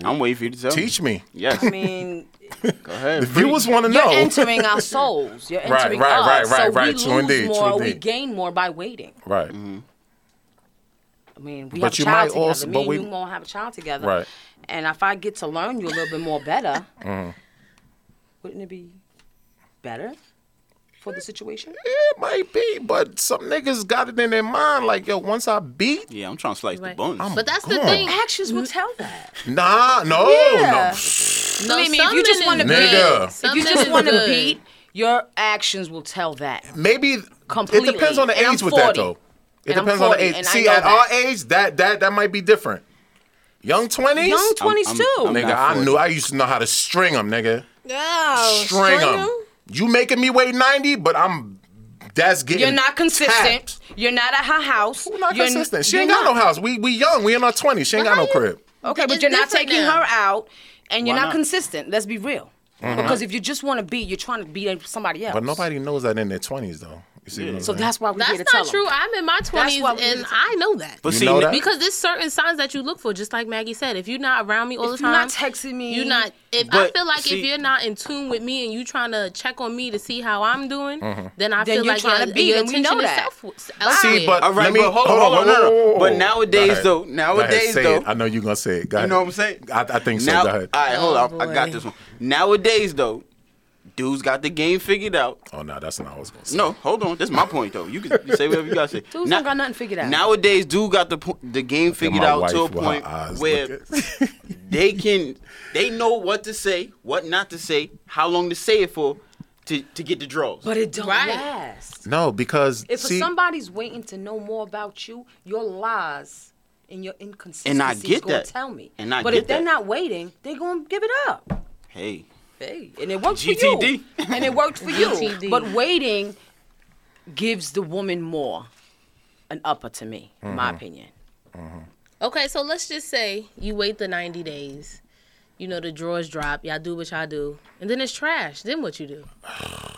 A: I'm waiting for you to tell
D: Teach me.
A: Yes.
B: I
D: (laughs)
B: mean,
A: (laughs) Go ahead.
D: Viewers want to know.
B: You're
D: (laughs)
B: entering our souls. You're
D: Right,
B: entering
D: right, right,
B: us.
D: right,
B: so
D: right.
B: We
D: True
B: lose
D: indeed,
B: more.
D: true
B: we
D: indeed.
B: gain more by waiting.
D: right.
B: Mm-hmm. I mean, we
D: But
B: have a
D: you
B: child
D: might
B: together.
D: also-
B: Me
D: but
B: and
D: we-
B: you won't have a child together.
D: Right.
B: And if I get to learn you a little bit more better,
D: mm-hmm.
B: wouldn't it be better for the situation?
D: It might be, but some niggas got it in their mind like, yo, once I beat,
A: Yeah, I'm trying to slice the
C: Right.
A: buns.
C: But that's the
D: Gone.
C: thing.
B: Actions will tell that.
D: nah, no, (laughs)
B: Yeah.
D: no.
C: No,
B: Believe me, if
C: some
B: you just
C: men
B: wanna
C: is
B: beat-
C: good.
D: Nigga.
C: Some
B: if you
C: men
B: just
C: is
B: want to
C: good.
B: beat, your actions will tell that.
D: Maybe
B: Completely.
D: it depends on the
B: And I'm
D: age with that
B: 40.
D: though. It
B: And I'm
D: depends on the
B: 40,
D: age.
B: and I
D: See,
B: know
D: at
B: that.
D: our age, that that that might be different. Young twenties,
B: Young twenties
A: I'm-
B: too.
A: I'm-
D: nigga.
A: Not
D: I
A: forty.
D: knew I used to know how to string them, nigga.
C: Oh,
D: string them. You making me wait ninety, but I'm that's getting.
B: you're not consistent.
D: tapped.
B: You're not at her house.
D: We're not
B: You're-
D: consistent. She
B: you're
D: ain't got
B: not.
D: no house. We we young. We in our twenties. She ain't got no
C: how you-
D: crib.
B: Okay, but
C: It's
B: you're not
C: different
B: taking
C: now.
B: her out, and you're
A: Why
B: not,
A: not?
B: consistent. Let's be real. Because if you just want to be, you're trying to be somebody else.
D: Uh-huh. But nobody knows that in their twenties though. You see what I'm
B: So
D: saying?
B: that's why we're here to
C: That's
B: tell
C: not true.
B: 'em.
C: I'm in my twenties
B: why we need
C: and
B: to-
C: I know that.
A: but
D: You
A: see,
D: know that?
C: Because there's certain signs that you look for, just like Maggie said. If you're not around me all
B: If
C: the
B: you're
C: time,
B: not texting me-
C: You're not. If I
A: But,
C: feel like if
A: see-
C: you're not in tune with me and you trying to check on me to see how I'm doing, then I
B: Then
C: feel
B: you're
C: like
B: trying
C: your,
B: to beat,
C: your
B: and we
C: attention
B: know
C: is
B: that.
C: self-
D: see,
C: elsewhere.
D: but
A: All right,
D: let me
A: but hold on, hold on, hold on. But nowadays,
D: Go ahead.
A: though- nowadays,
D: Go ahead, say
A: though-
D: it. I know you're gonna say it. Go
A: You
D: ahead.
A: know what I'm saying?
D: I, I think so.
A: Now,
D: Go ahead.
A: all right, hold
C: Oh,
A: on. I got
C: boy.
A: this one. Nowadays, though, dudes got the game figured out.
D: oh no, that's not what I was gonna say.
A: No, hold on. This is my point, though. You can you say whatever you got to say.
B: (laughs) Dudes
A: Now-
B: don't got nothing figured out.
A: Nowadays, dude got the po- the game figured
D: my
A: out to a
D: wife with her
A: point
D: eyes
A: where
D: (laughs)
A: they can they know what to say, what not to say, how long to say it for, to to get the draws.
B: but it don't
C: Right.
B: last.
D: No, because
B: If
D: see,
B: somebody's waiting to know more about you, your lies and your inconsistencies
A: get
B: gonna
A: that.
B: tell me.
A: And I
B: but
A: get
B: if they're
A: that.
B: not waiting, they're gonna give it up.
A: hey,
B: Hey, and it worked for you.
A: GTD.
B: And it worked for you.
C: GTD.
B: But waiting gives the woman more an upper to me, in my opinion. Mm-hmm.
C: Okay, so let's just say you wait the 90 days. You know, the drawers drop. Y'all do what y'all do. And then it's trash. Then what you do?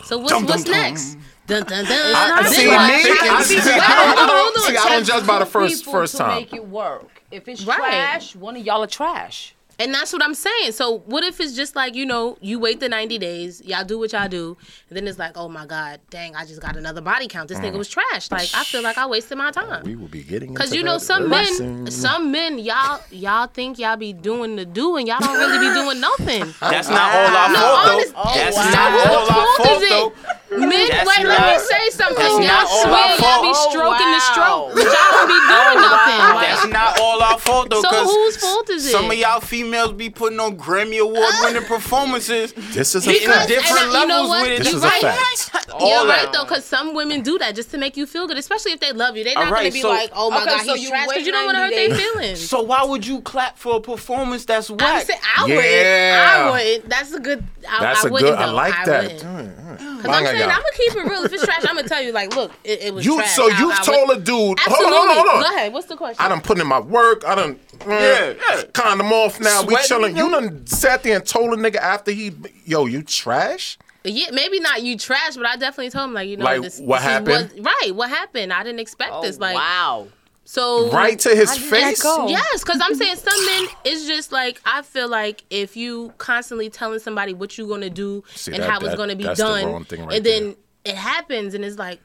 C: So what's,
D: Dum, dum,
C: what's
D: dum.
C: next? Dun, dun, dun.
D: I,
C: Then
D: see me.
C: what?
D: I,
C: Wait,
D: see,
C: hold
B: (laughs)
C: on,
D: I
C: hold
D: don't,
C: on.
D: see, I don't judge by the first
B: People
D: first
B: to
D: time.
B: make it work. If it's
C: Right.
B: trash, one of y'all are trash.
C: And that's what I'm saying. So what if it's just like, you know, you wait the 90 days. Y'all do what y'all do. And then it's like, oh my God, dang, I just got another body count. This
A: Mm.
C: nigga was trash. Like, I feel like I wasted my time.
D: We will be getting
C: Cause
D: into
C: you know
D: that
C: some
D: very
C: men,
D: soon.
C: some men, y'all y'all think y'all be doing the do, and y'all don't really be doing nothing.
A: (laughs) that's not all our
C: No,
A: fault
C: honest-
A: though. That's
C: So
A: not all our
C: whose fault
A: fault
C: is
A: though.
C: it? Men,
A: That's
C: wait, let
A: not-
C: me say something.
A: that's
C: Y'all
A: not all our
C: swear y'all be
A: fault.
C: stroking the
B: Oh,
C: stroke,
B: wow.
C: but y'all don't be doing nothing.
A: That's
C: Like,
A: not all our fault though.
C: So
A: 'cause
C: whose fault is
A: Some of
C: it?
A: y'all females be putting on Grammy award winning performances.
D: (laughs) This is a
A: Hitting
C: Because-
D: fact.
A: different
C: and I- you know
A: levels
C: what?
A: with it.
D: This
C: You
D: is a
C: right.
D: fact.
A: all
C: You're
A: that.
C: right though, because some women do that just to make you feel good, especially if they love you. They're not
A: All right,
C: gonna be
A: so-
C: like, "Oh my
B: Okay,
C: god,
B: so
C: he's
B: you
C: trash,"
B: wait
C: because you don't want to
B: 90
C: hurt their
B: days.
C: feelings.
A: So why would you clap for a performance that's
C: I'm
A: whack?
C: saying I
D: Yeah.
C: wouldn't. (laughs) I wouldn't. That's a good. I,
D: That's
C: I
D: a
C: wouldn't
D: good. I
C: though.
D: like that.
C: wouldn't.
D: Because
C: Cause I'm saying I'm gonna keep it real. If it's trash, I'm gonna tell you. Like, look, it, it was
D: You
C: trash.
D: so
C: I-
D: you've
C: I
D: told
C: would-
D: a dude.
C: Absolutely.
D: Hold on, hold on, hold on.
C: Go ahead. What's the question?
D: I done put in my work. I done mm,
A: Yeah, yeah.
D: kind them off now. we
A: Sweating
D: chilling. You
A: him.
D: done sat there and told a nigga after he, yo, you trash.
C: Yeah, maybe not you trash, but I definitely told him like, you know,
D: Like,
C: this,
D: what
C: this
D: happened?
C: Was, right? What happened? I didn't expect
B: Oh,
C: this. Like,
B: wow.
C: so
D: Right to his
B: did that
D: face.
B: go?
C: Yes, because I'm
B: (laughs)
C: saying some men, it's just like I feel like if you constantly telling somebody what you're gonna do
D: See,
C: and
D: that-
C: how it's
D: that-
C: gonna be
D: that's the
C: done,
D: wrong thing right
C: and then it happens, and it's like,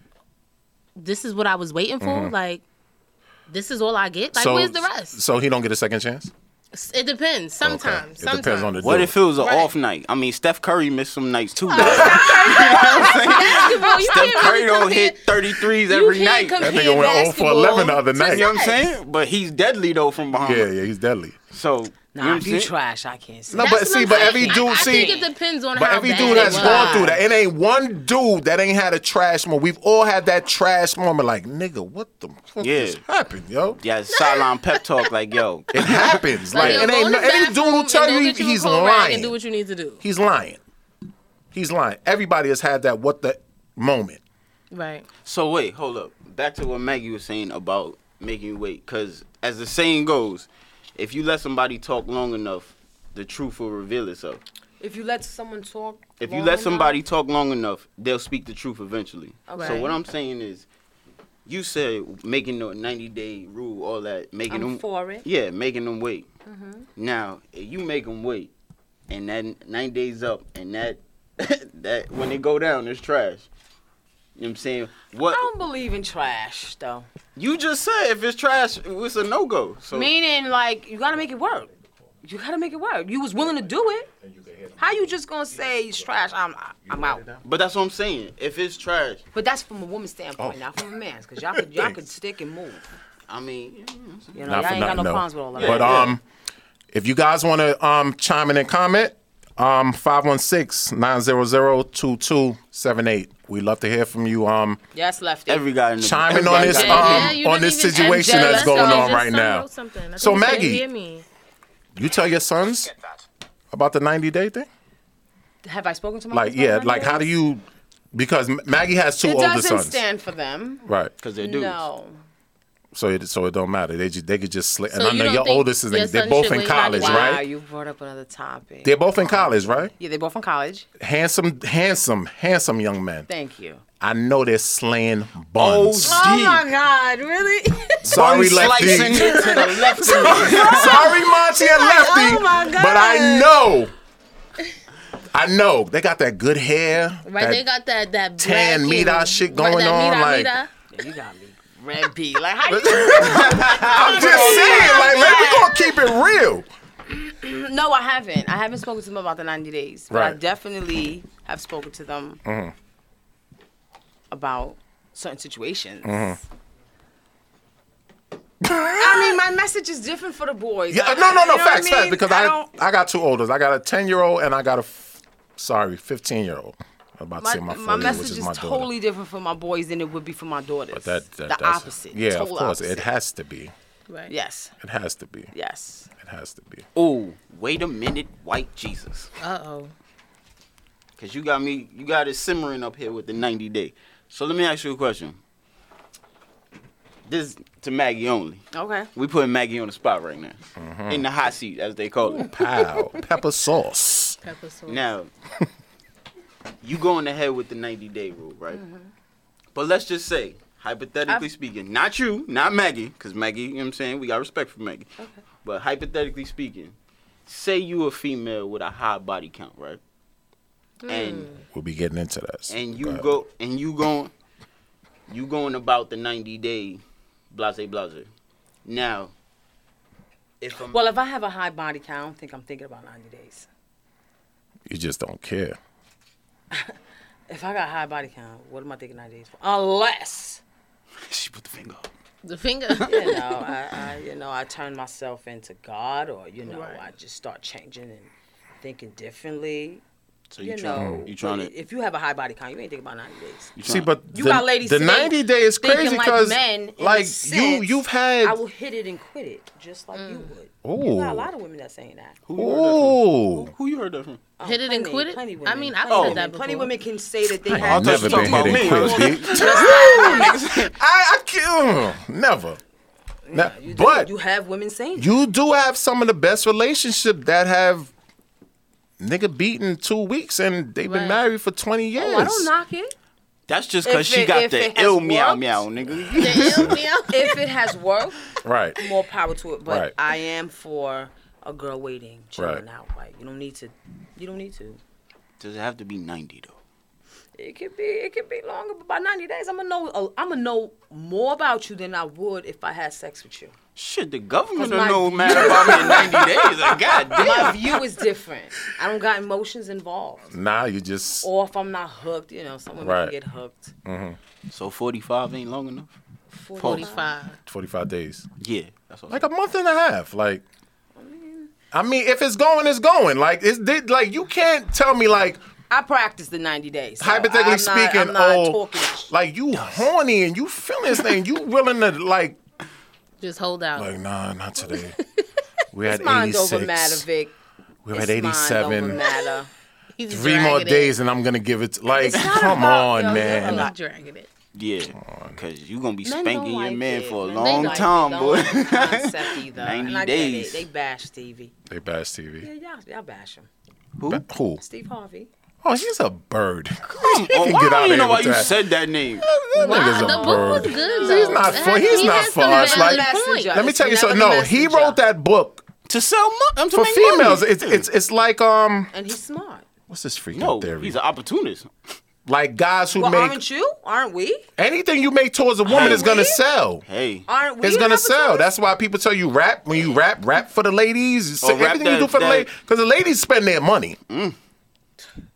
C: this is what I was waiting for. Like, this is all I get. Like, where's the rest?
D: Mm-hmm. So he don't get a second chance.
C: It depends. Sometimes,
D: It
C: sometimes. (laughs)
D: depends on the
A: What
D: dude.
A: if it was an
C: Right.
A: off night? I mean, Steph Curry missed some nights too. though.
C: Basketball, you
A: Steph
C: can't
A: Curry
C: really
A: don't
C: compare-
A: hit 33s
C: you
A: every
C: can't
A: night.
C: compare
D: That nigga went 0 for
C: basketball
D: 11 the other
C: to
D: night.
A: you know what I'm
C: sex.
A: saying? But he's deadly though from behind.
D: Yeah, yeah, he's deadly.
A: So you know
B: Nah,
A: what I'm
B: if you
A: saying?
B: trash, I can't see.
D: No,
C: That's
D: but
C: what
D: see,
C: I'm
D: but
C: saying.
D: every
C: I-
D: dude,
C: I,
D: see,
C: think it depends on
D: But
C: how
D: every
C: bad
D: dude
C: it
D: has
C: was.
D: gone through that. It ain't one dude that ain't had a trash moment. We've all had that trash moment. Like, nigga, what the fuck
A: Yeah.
D: just happened, yo?
A: Yeah, sideline pep talk like yo.
D: It happens.
C: Like,
D: like,
C: yo,
D: it
C: go
D: ain't
C: in
D: no,
C: the
D: any dude
C: bathroom
D: will
C: and
D: tell
C: go
D: you
C: get a
D: he's
C: cold rag And do
D: lying.
C: what you need to do.
D: He's lying. He's lying. Everybody has had that what the moment.
C: Right.
A: So wait, hold up. Back to what Maggie was saying about making you wait, because as the saying goes, if you let somebody talk long enough, the truth will reveal itself.
B: If you let someone talk,
A: If you let somebody talk long enough, they'll speak the truth eventually. So
B: Okay.
A: what I'm saying is, you said making the 90 day rule, all that, making
B: I'm
A: them
B: for it.
A: Yeah, making them wait. Now if you make them wait, and that nine days up, and that (coughs) that when they go down, it's trash. You know what I'm saying? What
B: I don't believe in trash though.
A: you just said if it's trash, it's a no go. So
B: Meaning, like, you gotta make it work. You gotta make it work. You was willing to do it. How you just gonna say it's trash? I'm I'm out.
A: but that's what I'm saying. If it's trash,
B: But that's from a woman's standpoint, not from a man's, because y'all could y'all could stick and move.
A: I mean,
B: You know, y'all ain't got no problems with all of
A: Yeah.
B: that.
D: But um, if you guys want to um chime in and comment, um 516-900-2278. We love to hear from you. Um,
B: Yes, lefty.
A: every guy in the
D: (laughs) chiming on
A: everybody
D: this
A: got
D: um
A: a
C: Yeah, you
D: on
C: didn't
D: this
C: even-
D: situation
C: and
D: that's
C: Jess
D: going
C: also
D: on
C: just
D: right now.
C: wrote something. I think
D: So,
C: he said,
D: Maggie.
C: "Hear me."
D: You tell your sons about the 90 day thing?
B: Have I spoken to my
D: Like,
B: husband
D: yeah,
B: about
D: like
B: that?
D: how do you because M- Maggie has two
B: It
D: older
B: doesn't
D: sons.
B: stand for them.
D: Right.
A: because they're dudes.
B: No.
D: So it so it don't matter. They just they could just slip. and
C: So
D: I
C: you
D: know
C: don't
D: your
C: think
D: oldest is
C: your
D: they're
C: son
D: both
C: should
D: in
C: wait
D: college,
C: ninety
B: Wow,
D: right?
B: you brought up another topic.
D: They're both in college, right?
B: yeah, they both from college.
D: Handsome, handsome, handsome young men.
B: Thank you.
D: I know they're slaying buns.
B: Oh my God, really?
D: Sorry,
A: Bun
D: Lefty.
A: slicing
D: Sorry,
A: it to
D: (laughs)
A: the left. and right.
D: Monty and Lefty.
C: oh my God.
D: But I know. I know. They got that good hair.
C: Right,
D: that
C: they got that that
D: tan
C: black
D: meat-eye
C: and-
D: shit
C: right,
D: going
C: that
D: on,
C: meat-eye,
D: like-
C: meat-eye.
B: you got me. Red B. Like
D: (laughs)
B: how you
D: I'm just saying, like, man, we gonna keep it real.
B: (clears throat) No, I haven't. I haven't spoken to them about the 90 days, but I
D: Right.
B: definitely have spoken to them
D: Mm-hmm,
B: about certain situations.
D: mm-hmm.
B: I mean, my message is different for the boys.
D: Yeah,
B: I-
D: no, no,
B: you know
D: no,
B: what I
D: facts, facts.
B: mean?
D: Because
B: I
D: I, I,
B: don't-
D: got two olders. I got a ten year old and I got a, f- sorry, fifteen year old. About to
B: my,
D: say my
B: my,
D: four year,
B: message
D: which
B: is,
D: is my daughter.
B: totally different for my boys than it would be for my daughters.
D: But that, that
B: the
D: that's,
B: opposite.
D: Yeah, of
B: total
D: course,
B: opposite.
D: it has to be.
C: Right.
B: yes,
D: It has to be. It
B: yes.
D: has to be.
A: Oh, wait a minute, white Jesus.
C: Uh oh.
A: Cause you got me, you got it simmering up here with the 90 day. So let me ask you a question. This to Maggie only.
B: Okay.
A: We putting Maggie on the spot right now, in the hot seat as they call it.
D: Pow, pepper sauce.
C: Pepper
A: (laughs)
C: sauce.
A: Now, you going ahead with the 90 day rule, right? But let's just say, hypothetically speaking, not you, not Maggie, because Maggie, you know what I'm saying? We got respect for Maggie. But hypothetically speaking, say you a female with a high body count, right?
C: Hmm.
A: And
D: We'll be getting into that. so
A: and
D: go
A: you
D: ahead.
A: go and you going you going about the 90 day blase blase. Now, if I'm,
B: Well, if I have a high body count, I don't think I'm thinking about 90 days.
D: You just don't care.
B: If I got a high body count, what am I thinking 90 days for?
D: (laughs)
B: Unless.
A: she put the finger up.
C: The
B: (laughs)
C: finger. (laughs)
B: you know, I, I you know, I turn myself into God, or you know, I just start changing and thinking differently.
A: So
B: You
A: you, try,
B: know,
A: you trying to.
B: if you have a high body count, you ain't thinking about 90 days.
A: you
D: See,
A: tryna-
D: but
B: You
D: the,
B: got ladies
D: the
B: think-
D: ninety day is
B: thinking
D: crazy
B: like
D: because
B: men in a
D: like you
B: sense,
D: you've had
B: I will hit it and quit it, just like
C: Mm.
B: you would. You got
D: Ooh.
B: a lot of women that saying that.
A: who you heard that from?
D: ooh
A: Who you heard that from?
B: Oh,
C: Mm-hmm. Hit it and
B: plenty-
C: quit it?
B: Plenty women,
C: I mean, I've
B: plenty
C: said
B: women,
C: that
B: Plenty
C: before.
B: women can say that they
D: I've
B: have
A: thought you
D: never
A: was
D: been hitting
A: talking about
D: quits,
A: me.
B: (laughs)
D: bitch. (laughs) I, I can't. Never. Ne-
B: You do.
D: but
B: you have women saying
D: you do have some of the best relationships that have nigga beaten two weeks and they've been
C: Right.
D: married for 20 years.
B: that. Oh, I don't knock it.
A: That's just because
B: If
A: she
B: it-
A: got
B: if it
A: the
B: has
A: ill meow
B: worked.
A: meow, nigga.
D: (laughs)
B: If it has worked,
D: Right.
B: more power to it. But
D: Right.
B: I am for a girl waiting, chilling
D: Right.
B: out. Like you don't need to. You don't need to.
A: (laughs) Does it have to be 90 though?
B: It could be. It could be longer, but by 90 days, I'm gonna know. I'm gonna know more about you than I would if I had sex with you.
A: Shit, the government
B: Cause my-
A: don't know mad about me in 90
B: (laughs)
A: days. Like, God
B: My
A: damn.
B: view is different. I don't got emotions involved.
D: Now you just. mm-hmm.
B: Or if I'm not hooked, you know, someone
D: Right.
B: can get hooked.
A: So 45 ain't long enough?
C: 45.
D: 45 days.
A: Yeah. That's what
D: Like a month and a half. Like. I mean, if it's going, it's going. Like it's did like you can't tell me like
B: I practice the 90 days. so
D: hypothetically
B: I'm not-
D: speaking,
B: I'm not
D: oh,
B: talking.
D: like you horny and you feeling this thing, you willing to like
C: Just hold out.
D: Like, nah, not
B: (laughs)
D: today. We had
B: Mind
D: 86.
B: over matter, Vic.
D: We had
B: It's mind over
D: 87.
B: matter.
C: He's
D: Three more
C: dragging it.
D: days and I'm gonna give it. Like,
B: not
D: come
B: about-
D: on,
B: yo, yo,
D: man.
B: yo.
C: He's dragging it.
A: Yeah. Because you going to be
B: Men
A: spanking
B: don't
A: your
B: like
A: man
B: it.
A: for a
B: Men
A: long
B: don't like
A: time,
B: it.
D: (laughs)
A: boy.
B: Don't like
A: (laughs)
B: the concept either.
A: 90
B: and I
A: days.
B: Get it. They bash Stevie.
D: They bash
B: Yeah,
D: TV.
B: y'all, y'all bash him.
D: Ba- Who?
B: Steve Harvey.
D: Oh, she's a bird. (laughs)
A: Come
D: You
A: on,
D: can
A: why
D: get out
A: Oh, I don't
D: of
A: even know
D: here
A: why
D: with
A: you
D: that.
A: said (laughs) that name.
D: That nigga's
C: the
D: a
C: book was
D: bird.
C: good. Though.
D: He's not
C: It
D: for-
C: had-
D: he's
C: he
D: not
C: had
D: for
C: some
D: us,
C: valid
D: like-
C: point.
B: Messenger.
D: Let me
B: It's
D: tell you something.
B: never
D: No,
B: the
D: he
B: messenger.
D: wrote that book
A: To sell money.
D: for females. It's it's it's like um,
B: And he's smart.
D: what's this freaking
A: No,
D: theory?
A: he's an opportunist.
D: like guys who
B: Well,
D: make
B: aren't you? Aren't we?
D: anything you make towards a woman is gonna
B: we?
D: sell.
A: Hey.
B: Aren't we?
D: It's gonna
B: an
D: sell.
B: opportunity?
D: That's why people tell you rap when you rap, rap for the ladies.
A: Oh, rap
D: everything you do
A: that-
D: for the
A: that- Mm.
D: ladies, because the ladies spend their money.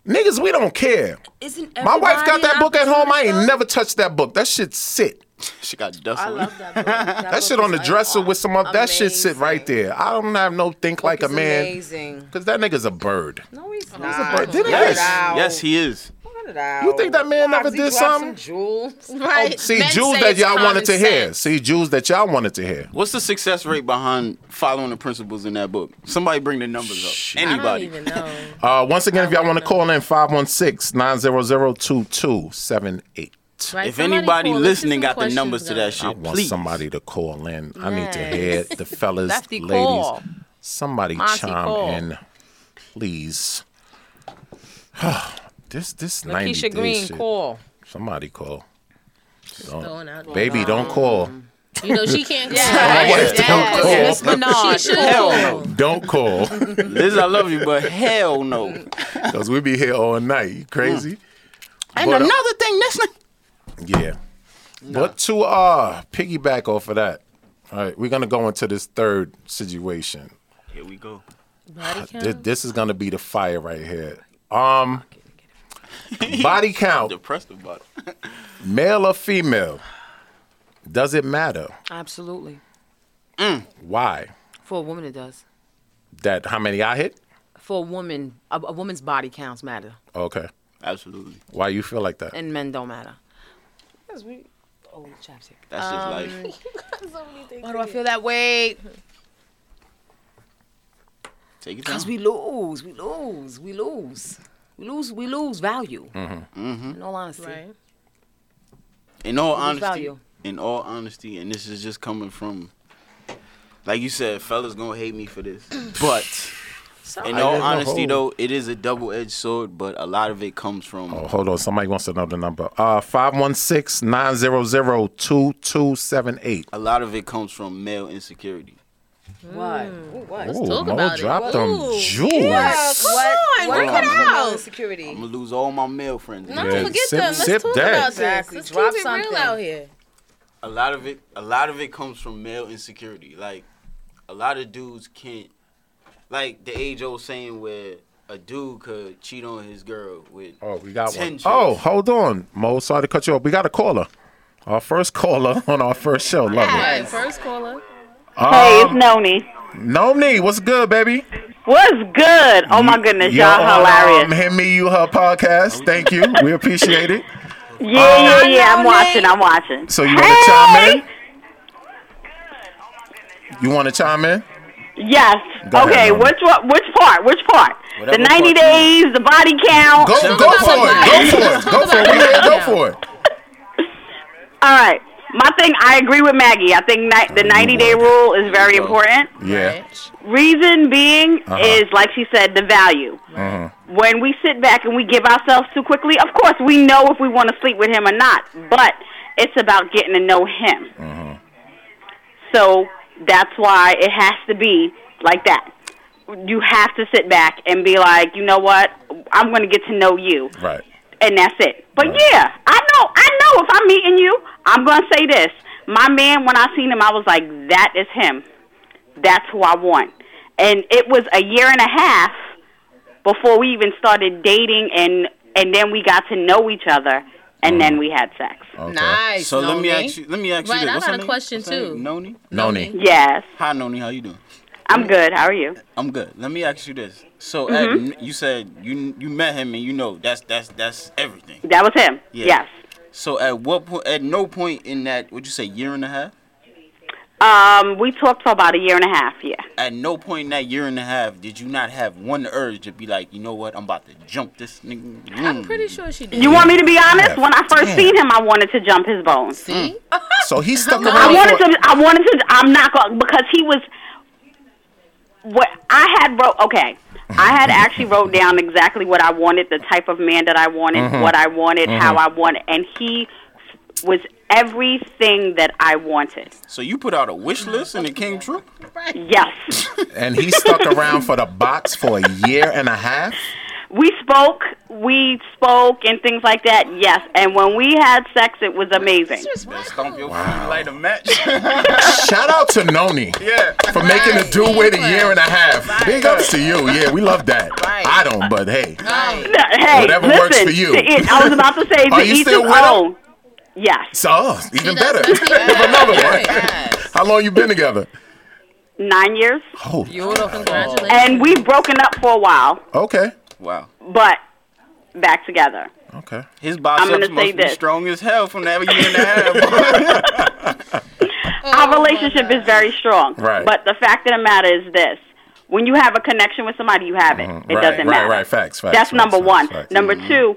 D: Niggas, we don't care.
B: Isn't
D: My wife got
B: everybody
D: that
B: an
D: book at home. I ain't
B: opportunist,
D: never touched that book. That shit sit.
A: She got dust
B: though? I
A: on
B: love
A: her.
B: that book. That,
D: That
B: book
D: shit on
B: is
D: the dresser
B: like,
D: with some other. That shit sit
B: amazing.
D: right there. I don't have no think like a
B: Book is
D: man.
B: Amazing.
D: Cause that nigga's a bird.
B: No, he's not.
D: bird. Didn't
B: Cut it
D: he?
B: out.
A: Yes, he is.
B: Cut it out.
D: You think that man
B: Why,
D: never
B: 'cause he
D: did
B: dropped some
D: something?
B: (laughs)
D: Oh,
B: jewels?
C: Right.
D: See,
C: Men
D: Jews
C: say
D: that
C: it's
D: y'all
C: common
D: wanted to hear.
C: sense.
D: See, Jews that y'all wanted to hear.
A: What's the success rate behind following the principles in that book? Somebody bring the numbers up. Anybody.
C: I don't even
A: (laughs)
C: know.
D: Uh, once again, if y'all want to call in, 516 900 2278.
C: Right,
A: If
C: somebody
A: anybody
C: call. Let's get
A: listening
C: some
A: got the
C: questions
A: numbers to that
C: going.
A: shit,
D: I want
A: please.
D: somebody to call in. I need to
C: Nice.
D: hear the
B: (laughs)
D: fellas,
B: Lefty
D: ladies.
B: call.
D: Somebody
B: Monty
D: chime
B: call.
D: in, please. (sighs) this this ninety
B: Keisha
D: day
B: Green,
D: shit.
B: call.
D: Somebody call. Don't-
C: Throwing out there.
D: baby, don't call.
C: You know she
B: (laughs)
C: can't go.
D: wife don't call.
B: Yes, Miss Minaj.
C: She should
A: Hell
C: call.
D: Don't call,
A: Liz, I love you, but hell no. And
D: (laughs) cause we be here all night. You crazy? But, uh,
A: another thing, this ni-
D: Yeah. But to uh piggyback off of that, all right, we're gonna go into this third situation.
A: Here we go.
C: Body
D: Th-
C: count.
D: this is gonna be the fire right here. Um, body count,
A: (laughs) Depressed about it.
D: male or female, does it matter?
B: Absolutely.
D: Why?
B: For a woman, it does.
D: That how many I hit?
B: For a woman, a, a woman's body counts matter,
D: Okay.
A: Absolutely.
D: Why you feel like that?
B: and men don't matter. Because we, oh, chaps here.
A: That's just
C: (laughs)
A: life.
B: Why do I feel that way?
A: Take it down.
B: Because we lose, we lose, we lose, we lose, we lose value.
D: Mm-hmm.
B: In all honesty,
C: Right.
A: mm. in all
B: lose
A: honesty,
B: value.
A: in all honesty, and this is just coming from, like you said, fellas gonna hate me for
D: (clears throat)
A: this, but. In
D: I
A: all
D: didn't know.
A: honesty, though, it is a double-edged sword, but a lot of it comes from
D: Oh, hold on. Somebody wants to know the number. Uh, 516-900-2278.
A: a lot of it comes from male insecurity.
B: Why? What?
D: Ooh,
C: talk
D: Mo
C: about it.
D: dropped them
C: Ooh.
D: jewels.
B: What? What?
A: work it
B: comes from
C: out.
A: I'm
B: Insecurity.
A: gonna lose all my male friends.
C: No,
D: Yeah,
C: forget
D: sip-
C: them. Let's
D: sip
C: talk
D: that.
C: about this.
B: Exactly.
C: Let's
B: Drop
C: keep it
B: something.
C: real out here.
A: a lot of it a lot of it comes from male insecurity like a lot of dudes can't like the age old saying where a dude could cheat on his girl with
D: Oh, we got
A: Ten
D: one.
A: chicks.
D: Oh, hold on. Mo, sorry to cut you off. We got a caller. Our first caller (laughs) on our first show. Love
C: All
D: it.
C: right, first caller.
E: Hey, it's Noni.
D: Nomni, what's good, baby?
E: What's good? Oh my goodness, y'all
D: You're on, Um,
E: hilarious.
D: him, me, you, her podcast. Thank you. We appreciate it.
E: Yeah, yeah, yeah. I'm watching. I'm watching.
D: Oh. So you want to chime in? You want to chime in?
E: Yes.
D: Go ahead,
E: okay.
D: Mama.
E: which one? Which part? Which part?
F: Whatever
E: the 90
F: part
E: days, the body count.
D: Go, go
C: about
D: for it. Go
C: the
D: for
C: Bible.
D: it. Go for it. We here. Go for it.
E: All right. My thing. I agree with Maggie. I think ni- the 90 day rule is very important.
D: Yeah.
E: Reason being
D: Uh-huh.
E: is, like she said, the value. When we sit back and we give ourselves too quickly, of course, we know if we want to sleep with him or not, but it's about getting to know him. So that's why it has to be like that. You have to sit back and be like, you know what? I'm going to get to know you
D: Right.
E: and that's it. But yeah, I know, I know. If I'm meeting you, I'm gonna say this. My man, when I seen him, I was like, that is him. That's who I want. And it was a year and a half before we even started dating, and and then we got to know each other, and then we had sex.
D: Okay.
B: Nice.
A: Mm. So let me
B: Noni.
A: ask you. Let me ask
C: Right,
A: you. This.
C: I
A: What's
C: got
A: her
C: a
A: name?
C: question,
A: What's her name?
C: too.
A: Noni.
D: Noni.
E: Yes,
A: Hi, Noni. How you doing?
E: I'm good. How are you? Mm-hmm.
A: I'm good. Let me ask you this. So Ed, you said you you met him and you know that's that's that's everything.
E: That was him.
A: Yeah.
E: Yes.
A: So at what point? At no point in that would you say year and a half?
E: Um, we talked for about a year and a half. Yeah.
A: At no point in that year and a half did you not have one urge to be like, you know what, I'm about to jump this nigga.
C: I'm
A: Mm.
C: pretty sure she did.
E: You want me to be honest?
D: Yeah.
E: When I first
D: Damn.
E: seen him, I wanted to jump his bones.
C: See?
D: So he stuck around.
E: I wanted
D: for-
E: to. I wanted to. I'm not going because he was. What I had wrote. Okay, I had actually wrote down exactly what I wanted, the type of man that I wanted,
A: Mm-hmm.
E: what I wanted, how I wanted, and he was everything that I wanted.
A: So you put out a wish list and it came true. (laughs)
E: Yes,
D: And he stuck around for the box for a year and a half.
E: we spoke. We spoke and things like that. Yes, and when we had sex, it was amazing.
A: Stomp your feet, light a match.
D: Shout out to Noni.
A: yeah.
D: For making the do wait a year and a half. Big ups to you. Yeah, we love that.
B: Right.
D: I don't, but hey.
B: Right.
E: Hey,
D: Whatever
E: listen,
D: works for you.
E: to it- I was about to say
D: (laughs) Are
E: to
D: you
E: each
D: still
E: his
D: with him?
E: own. Yes,
D: So, oh, even
C: that's
D: better. Give
C: what he said.
D: another one.
B: Yes.
D: How long you been together?
E: nine years,
D: Oh,
B: Beautiful.
C: Congratulations.
E: and we've broken up for a while.
D: okay.
A: Wow.
E: but back together.
D: Okay.
A: His biceps
E: gonna say
A: must be
E: this.
A: strong as hell from that year and a half.
B: Oh
E: Our relationship is very strong.
D: Right.
E: But the fact of the matter is this. When you have a connection with somebody, you have it. It
D: Mm-hmm. right, right,
E: doesn't matter.
D: right. Facts, facts.
E: That's
D: facts,
E: number
D: facts,
E: one.
D: facts. Mm-hmm.
E: Number two,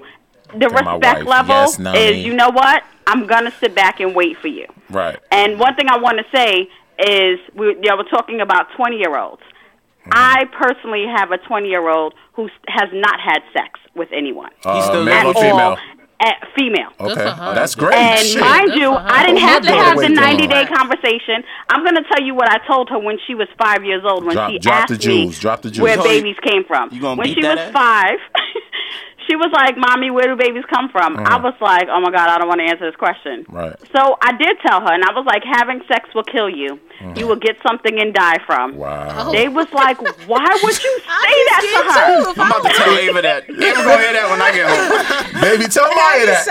E: the
D: Tell my
E: respect
D: wife,
E: level
D: yes, Nani.
E: is you know what? I'm gonna sit back and wait for you.
D: Right.
E: And one thing I want to say is we yeah, we're talking about 20 year olds.
D: Mm-hmm.
E: I personally have a 20 year old who s- has not had sex with anyone
A: He's
D: Uh,
A: still
D: male or
A: young.
E: at
D: female?
E: all. At female.
D: Okay.
C: for her.
D: That's great.
E: And
D: Shit.
E: mind
C: Good
E: you,
C: for her.
E: I didn't
C: Well,
E: have to
D: we'll do it
E: have
D: when
E: the
D: we do it.
E: 90 day conversation. I'm going to tell you what I told her when she was five years old when
D: Drop-
E: she
D: drop
E: asked
D: the jewels,
E: me
D: drop the jewels.
E: where
A: So you-
E: babies came from.
A: you gonna
E: when
A: beat
E: she
A: that
E: was
A: ass?
E: five, (laughs) she was like, Mommy, where do babies come from? I
D: Uh-huh.
E: was like, oh my God, I don't want to answer this question.
D: Right.
E: So I did tell her, and I was like, having sex will kill you. You will get something and die from.
D: Wow.
E: They was like, why would you say that to her?
A: I'm about to tell Ava that.
D: (laughs)
A: Ava gonna hear that when I get home.
D: Baby, tell Maya that.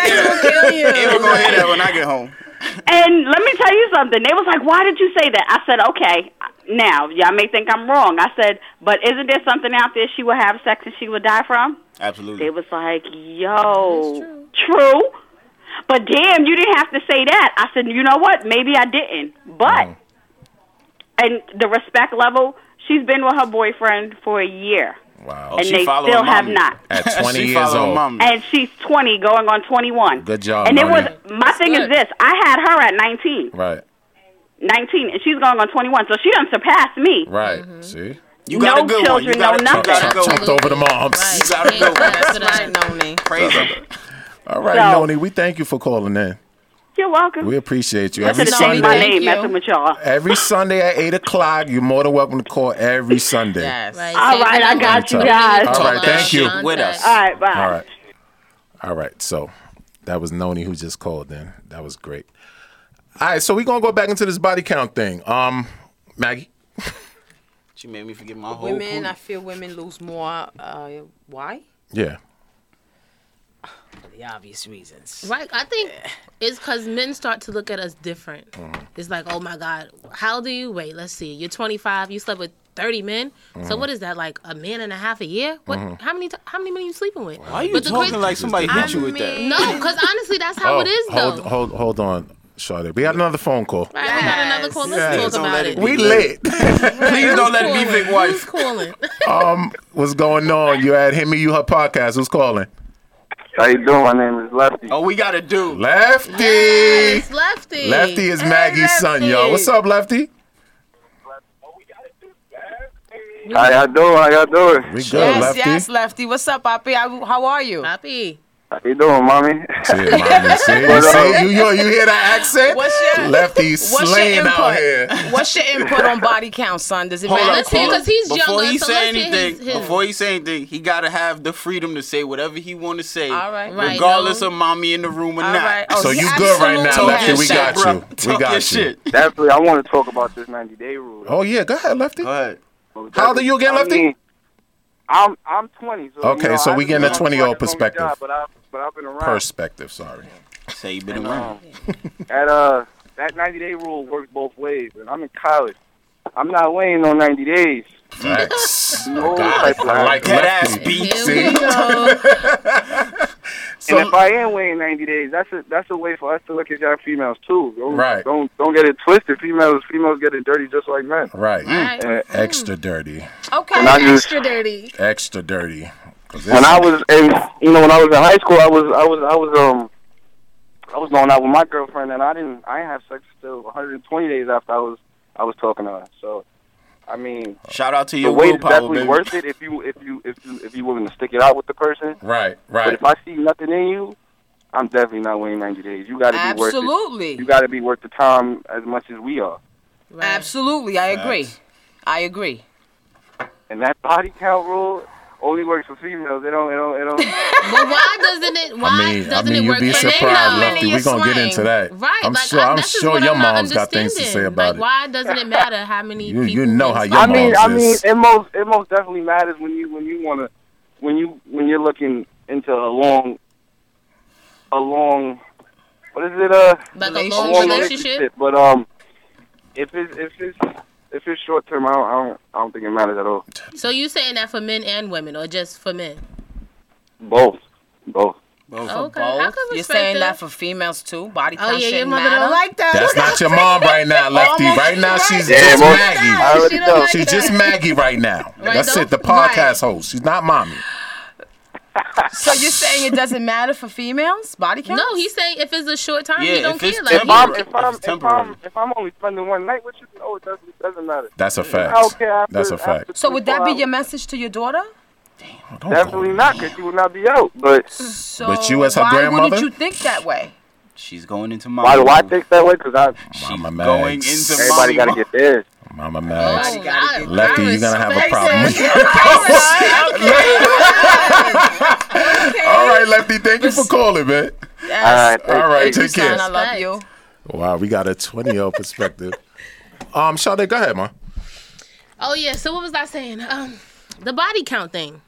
A: Ava gonna hear that when I get home.
E: And let me tell you something. They was like, "Why did you say that?" I said, "Okay, now y'all may think I'm wrong." I said, "But isn't there something out there she will have sex and she will die from?" They
A: Absolutely.
E: was like, "Yo, true. but damn, you didn't have to say that." I said, "You know what? Maybe I didn't, but." And the respect level, she's been with her boyfriend for a year,
D: Wow.
E: and
A: she
E: they
A: following
E: still have
A: mommy.
E: not.
D: At 20
A: She
D: years
A: following
D: old.
A: mommy.
E: And she's 20, going on 21.
D: Good job,
E: And it was
D: Noni.
E: my thing is
C: good.
E: this: I had her at 19.
D: Right.
E: 19 and she's going on 21 so she done surpassed me
D: Right. See?
A: You got
E: no
A: a good one. You
E: children,
A: got a,
E: no
A: you got a good
D: Chopped
A: one.
D: over the moms.
C: Right.
A: You gotta go.
C: That's what I
B: Right,
C: know.
D: (laughs)
B: Noni.
A: Praise him.
D: All right,
E: So-
D: Noni, we thank you for calling in.
E: you're welcome
D: We appreciate you.
E: I
D: Every
E: should have changed
D: Sunday,
E: my
C: Thank
E: name
C: you.
E: messing with y'all
D: every Sunday at 8 o'clock, you're more than welcome to call every Sunday.
B: Yes.
C: Right,
E: all
C: save
E: right
C: the
E: i
C: number.
E: got you
D: All
E: guys
D: All
E: all
D: right, thank you.
A: With us.
E: right bye
D: All right. All right. So that was Noni who just called in. That was great. All right. So we're going to go back into this body count thing. Um, Maggie?
A: She made me forget my whole
B: Women, I
A: point.
B: feel women lose more. Uh, why?
D: Yeah.
B: For the obvious reasons.
C: Right. I think it's because men start to
D: Mm-hmm.
C: look at us different. It's like, oh my God, how do you wait? Let's see. You're 25. You slept with thirty men. So
D: Mm-hmm.
C: what is that like a man and a half a year? What? How many? T- how many men you sleeping with?
A: Why are you
C: But the
A: talking
C: crazy-
A: like somebody hit
G: I
A: you with that?
G: mean-
C: No, because honestly, that's how it is though.
D: Oh, Hold, hold, hold on, Sade. We got another phone call.
C: All right, we got another call. Let's
D: Yes.
C: talk
A: Don't
C: about
A: let
C: it.
A: it
D: We lit.
A: Please don't let it
C: Calling.
A: be Vic
C: Who's
A: wife.
C: calling?
D: Um, What's going on? You at Him Me You Her podcast. Who's calling?
H: How you doing? My name is Lefty.
A: Oh, we got a dude.
D: Lefty.
C: Yes, Lefty.
D: Lefty is Maggie's son, yo. What's up, Lefty?
H: How y'all doing? How y'all doing?
D: We good,
B: Yes,
D: Lefty.
B: yes, Lefty. What's up, Poppy? How how are you?
C: Poppy.
H: How you doing, mommy?
D: See,
H: (laughs)
D: mommy, see, see, you, yo, you hear that accent?
B: What's your-
D: Lefty
B: What's
D: slaying
B: your
D: out
B: input?
D: here.
B: What's your input on body count, son? Does it
A: Hold
B: matter?
A: up,
C: Let's hear,
A: hold up.
C: 'cause he's
A: before
C: younger,
A: he
C: so
A: say
C: let's hear his-
A: anything,
C: his-
A: before he say anything, he gotta have the freedom to say whatever he want to say,
B: All right.
C: Right,
A: regardless
C: no.
A: of mommy in the room or
B: All
A: not.
B: right. Oh,
D: So you
B: yeah,
D: good right now,
B: absolutely.
A: Talk
D: Lefty?
A: your
D: We
A: shit,
D: got
A: bro.
D: you. We
A: Talk
D: got
A: your
D: you.
A: shit.
H: Definitely, I want to talk about this 90 day rule.
D: Oh yeah, go ahead, Lefty.
A: Go ahead.
D: How old are you again, Lefty?
H: I mean, I'm I'm 20. So,
D: Okay,
H: you know,
D: so
H: I
D: we
H: just
D: getting a
H: been on
D: 20-year-old
H: the job,
D: perspective.
H: but I but I've been around.
D: Perspective, sorry.
A: Say you been around.
H: Um, that uh, that 90 day rule works both ways, and I'm in college. I'm not waiting on 90 days.
D: Facts.
H: (laughs) No
D: God,
H: type of
D: I like
A: Dead ass
D: Lefty.
A: beat.
C: Here
D: See?
C: we go.
D: (laughs)
H: and if I am waiting 90 days, that's a that's a way for us to look at y'all females too. Don't,
D: Right.
H: Don't don't get it twisted. Females females get it dirty just like men.
D: Right.
C: Alright.
H: And-
D: Extra dirty.
B: Okay.
H: Mm. When I just
C: Extra dirty.
D: Extra dirty. 'Cause
H: when
D: it's-
H: I was in, you know, when I was in high school, I was, I was, I was, um, I was going out with my girlfriend, and I didn't, I didn't have sex till 120 days after I was, I was talking to her. So, I mean,
A: Shout out to
H: the
A: your
H: wait is
A: willpower,
H: definitely
A: baby.
H: worth it if you, if you, if you, if you willing to stick it out with the person.
D: Right,
H: But
D: right.
H: if I see nothing in you, I'm definitely not waiting 90 days. You got to be worth it.
B: Absolutely.
H: You got to be worth the time as much as we are.
B: Absolutely. I agree. I agree.
H: And that body count rule only works for females. They don't, they don't, they don't.
C: But why doesn't it? Why
D: I mean, I
C: doesn't
D: mean,
C: it
D: you'd
C: work
D: be
C: for
D: surprised,
C: men? though?
D: Lefty. We're gonna get into that.
C: Right,
D: I'm
C: like,
D: sure.
C: I,
D: I'm
C: that's just
D: sure
C: what
D: your
C: I'm not
D: mom's got things to say
C: understanding.
D: about
C: like, Why doesn't it matter how many
D: You- you
C: people?
D: know how
C: can-
D: Uh, your
H: I mean,
D: mom's
H: I mean,
D: is-
H: it most it most definitely matters when you when you want to when you when you're looking into a long a long what is it uh
C: like a
H: a
B: Relationship.
C: long
H: long
C: relationship.
H: But um, if it's if it's if it's short term, I don't, I don't I don't think it matters at all.
C: So you saying that for men and women, or just for men?
H: Both, both.
C: Okay, I could respect
B: You're saying
C: that.
B: that for females too? Body
C: Oh
B: count
C: yeah, your
B: shouldn't
C: mother
B: matter.
C: don't like that.
D: That's not your mom right now, Lefty.
B: Almost
D: Right now, she's
H: Yeah,
D: just
H: most- I
D: Maggie.
H: already
C: She don't
H: know.
C: like
D: She's just Maggie right now. That's
C: though?
D: it. The
C: Right.
D: podcast host. She's not mommy.
B: So you're saying it doesn't matter for females? Body count?
C: No, he's saying if it's a short time,
A: Yeah,
C: he don't
A: if
C: care.
A: it's
C: Like,
H: if
A: temporary.
H: I'm
A: It's
H: if I'm, if
A: temporary.
H: I'm if I'm only spending one night with you, no, it doesn't doesn't matter.
D: That's a
H: I don't
D: fact.
H: care after,
D: That's a
H: after
D: fact.
B: So would that be
H: 24
B: your
H: hours.
B: message to your daughter?
D: Don't
H: Definitely
D: go.
H: not, because you will not be out. But
B: So
D: But you as her
B: why
D: grandmother?
B: wouldn't you think that way?
A: She's going into my.
H: why do I
A: room.
H: think that way? Because I
A: She's
D: Mama
A: going
D: Mags.
A: into
H: everybody got to get theirs.
D: Mama
C: oh,
D: Mags.
C: I-
D: Lefty,
C: I
D: you're gonna have a (laughs)
C: respect
D: problem.
C: that.
D: All right, Lefty. Thank you for calling, man.
B: Yes.
H: All
D: All right, take
B: Son, I
D: care.
B: love you.
D: Wow, we got a 20 year old perspective. Um, Sade, go ahead, ma.
C: Oh yeah. So what was I saying? Um, the body count thing.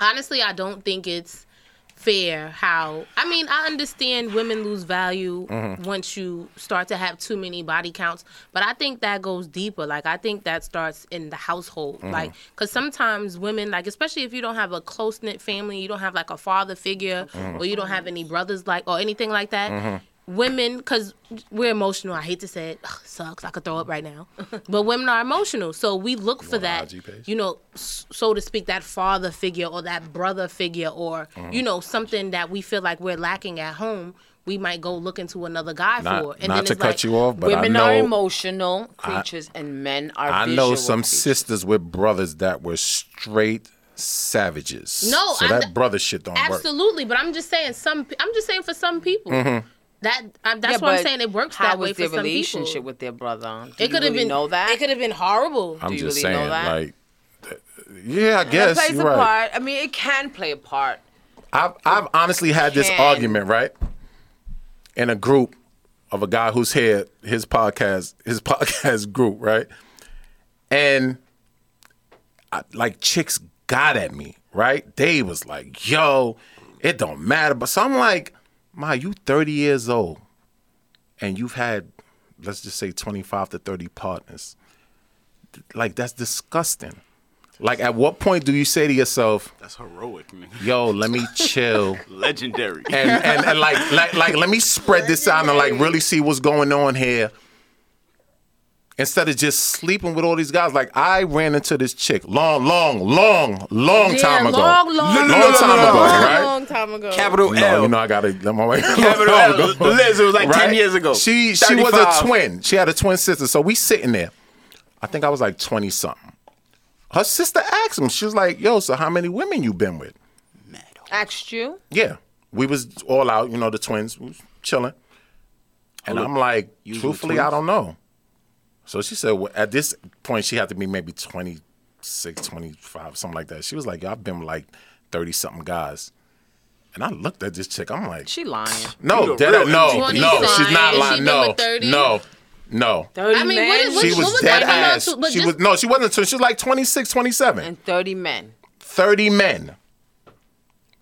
C: Honestly, I don't think it's fair. How I mean, I understand women lose value once you start to have too many body counts, but I think that goes deeper. Like I think that starts in the household. Like because sometimes women, like especially if you don't have a close knit family, you don't have like a father figure, or you don't have any brothers like or anything like that.
H: Mm-hmm.
C: women because we're emotional i hate to say it Ugh, sucks i could throw up right
D: (laughs)
C: now but women are emotional so we look for
D: on the
C: that
D: IG page?
C: you know s- so to speak that father figure or that brother figure or
D: Uh-huh.
C: you know something that we feel like we're lacking at home we might go looking to another guy for
D: Not,
C: and
D: not
C: then
D: to
C: it's
D: cut
C: like
D: you off, but I
B: Women
D: know.
B: are emotional creatures and men are
D: I know
B: visual
D: some
B: creatures.
D: sisters with brothers that were straight savages.
C: No,
D: so
C: I'm
D: that
C: not-
D: brother shit don't work.
C: absolutely but i'm just saying some pe- i'm just saying for some people
D: Mm-hmm.
C: that I, that's
B: Yeah,
C: what i'm
B: but
C: saying it works
B: how
C: that way
B: was
C: for
B: their
C: some
B: relationship
C: people
B: with their brother? Do
C: it
B: you
C: could have
B: really
C: been
B: know that.
C: it could have been horrible
D: I'm
B: you
D: just
B: really know
D: saying,
B: that?
D: like, th- yeah, I guess
B: plays
D: you're
B: a
D: right.
B: part. I mean, it can play a part.
D: I've, I've honestly had this
B: Can-
D: argument, right? In a group of a guy who's here, his podcast, his (laughs) podcast group, right? And I, like chicks got at me, right? They was like, yo, it don't matter. But so I'm like, ma, you 30 years old and you've had, let's just say 25 to 30 partners. like that's disgusting. Like, at what point do you say to yourself,
A: That's heroic, nigga.
D: "Yo, let me chill"?
A: Legendary.
D: (laughs) and, and, and like, like like let me spread this out and like really see what's going on here instead of just sleeping with all these guys like i ran into this chick long long long long
C: Yeah,
D: time ago
C: long, long,
D: long,
A: long,
D: time
A: long,
D: ago
A: long.
D: right
C: long time ago.
A: Capital
D: no, you know I gotta. let my (laughs)
A: Capital L. Liz, it was like 10 years ago.
D: She she was a
A: 35.
D: twin. She had a twin sister. So we sitting there. I think I was like twenty something. Her sister asked him. She was like, "Yo, so how many women you been with?"
B: Asked you?
D: Yeah, we was all out. You know, the twins we was chilling, and I'm like,
A: you were
D: truthfully,
A: twins?
D: I don't know. So she said, well, at this point, she had to be maybe 26, 25, something like that. She was like, "Yo, I've been with like thirty something guys, and I looked at this chick. I'm like,
B: She lying.
A: You
D: no,
A: the
D: dead,
A: real
D: no, no,
A: 20
D: she's not
C: lying.
D: lying.
C: She been
D: no,
C: with 30?
D: no, no.
B: Thirty
C: I mean, what
B: men
C: is- what
D: She
C: is-
D: was,
C: was
D: dead
C: that? No, no,
D: ass.
C: so- but
D: she
C: just-
D: was no, she wasn't. She was like 26, 27.
B: and thirty men.
D: 30 men.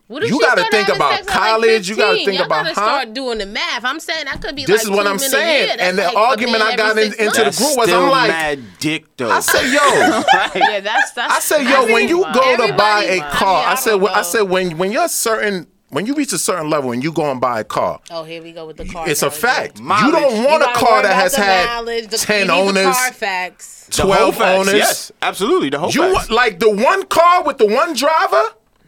C: What if
D: You
C: she
D: gotta
C: started
D: think
C: having
D: about
C: sex at, like,
D: college, you gotta
C: 15?
D: think
C: Y'all
D: about
C: gotta
D: how-
C: start doing the math. I'm saying I could be.
D: This
C: like
D: is what
C: two
D: I'm
C: men a
D: saying.
C: year. That's
D: And the
C: like a
D: argument
C: man
D: I got
C: every
D: in-
C: six
D: into the
A: That's
C: months.
D: group was, I'm
A: still
D: like-
A: mad dick though.
D: I
A: (laughs)
D: said, yo,
B: Yeah, that's that's.
D: I said, yo, when you go to
C: everybody-
D: buy a
C: I mean,
D: car, I
C: I
D: said,
C: don't
D: when- I
C: know.
D: said, when when you're certain, when you reach a certain level and you go and buy a car,
C: Oh, here we go with the car.
D: it's a
C: analogy.
D: fact. You
A: Mileage.
D: don't want
C: You
D: a
C: gotta
D: car
C: worry
D: that
C: about
D: has
C: the
D: had
C: mileage, the-
D: ten
C: you need the
D: owners,
C: Carfax.
A: The whole
D: twelve
A: facts,
D: owners.
A: Yes, absolutely. The whole
D: You
A: facts.
D: want- like the one car with the one driver?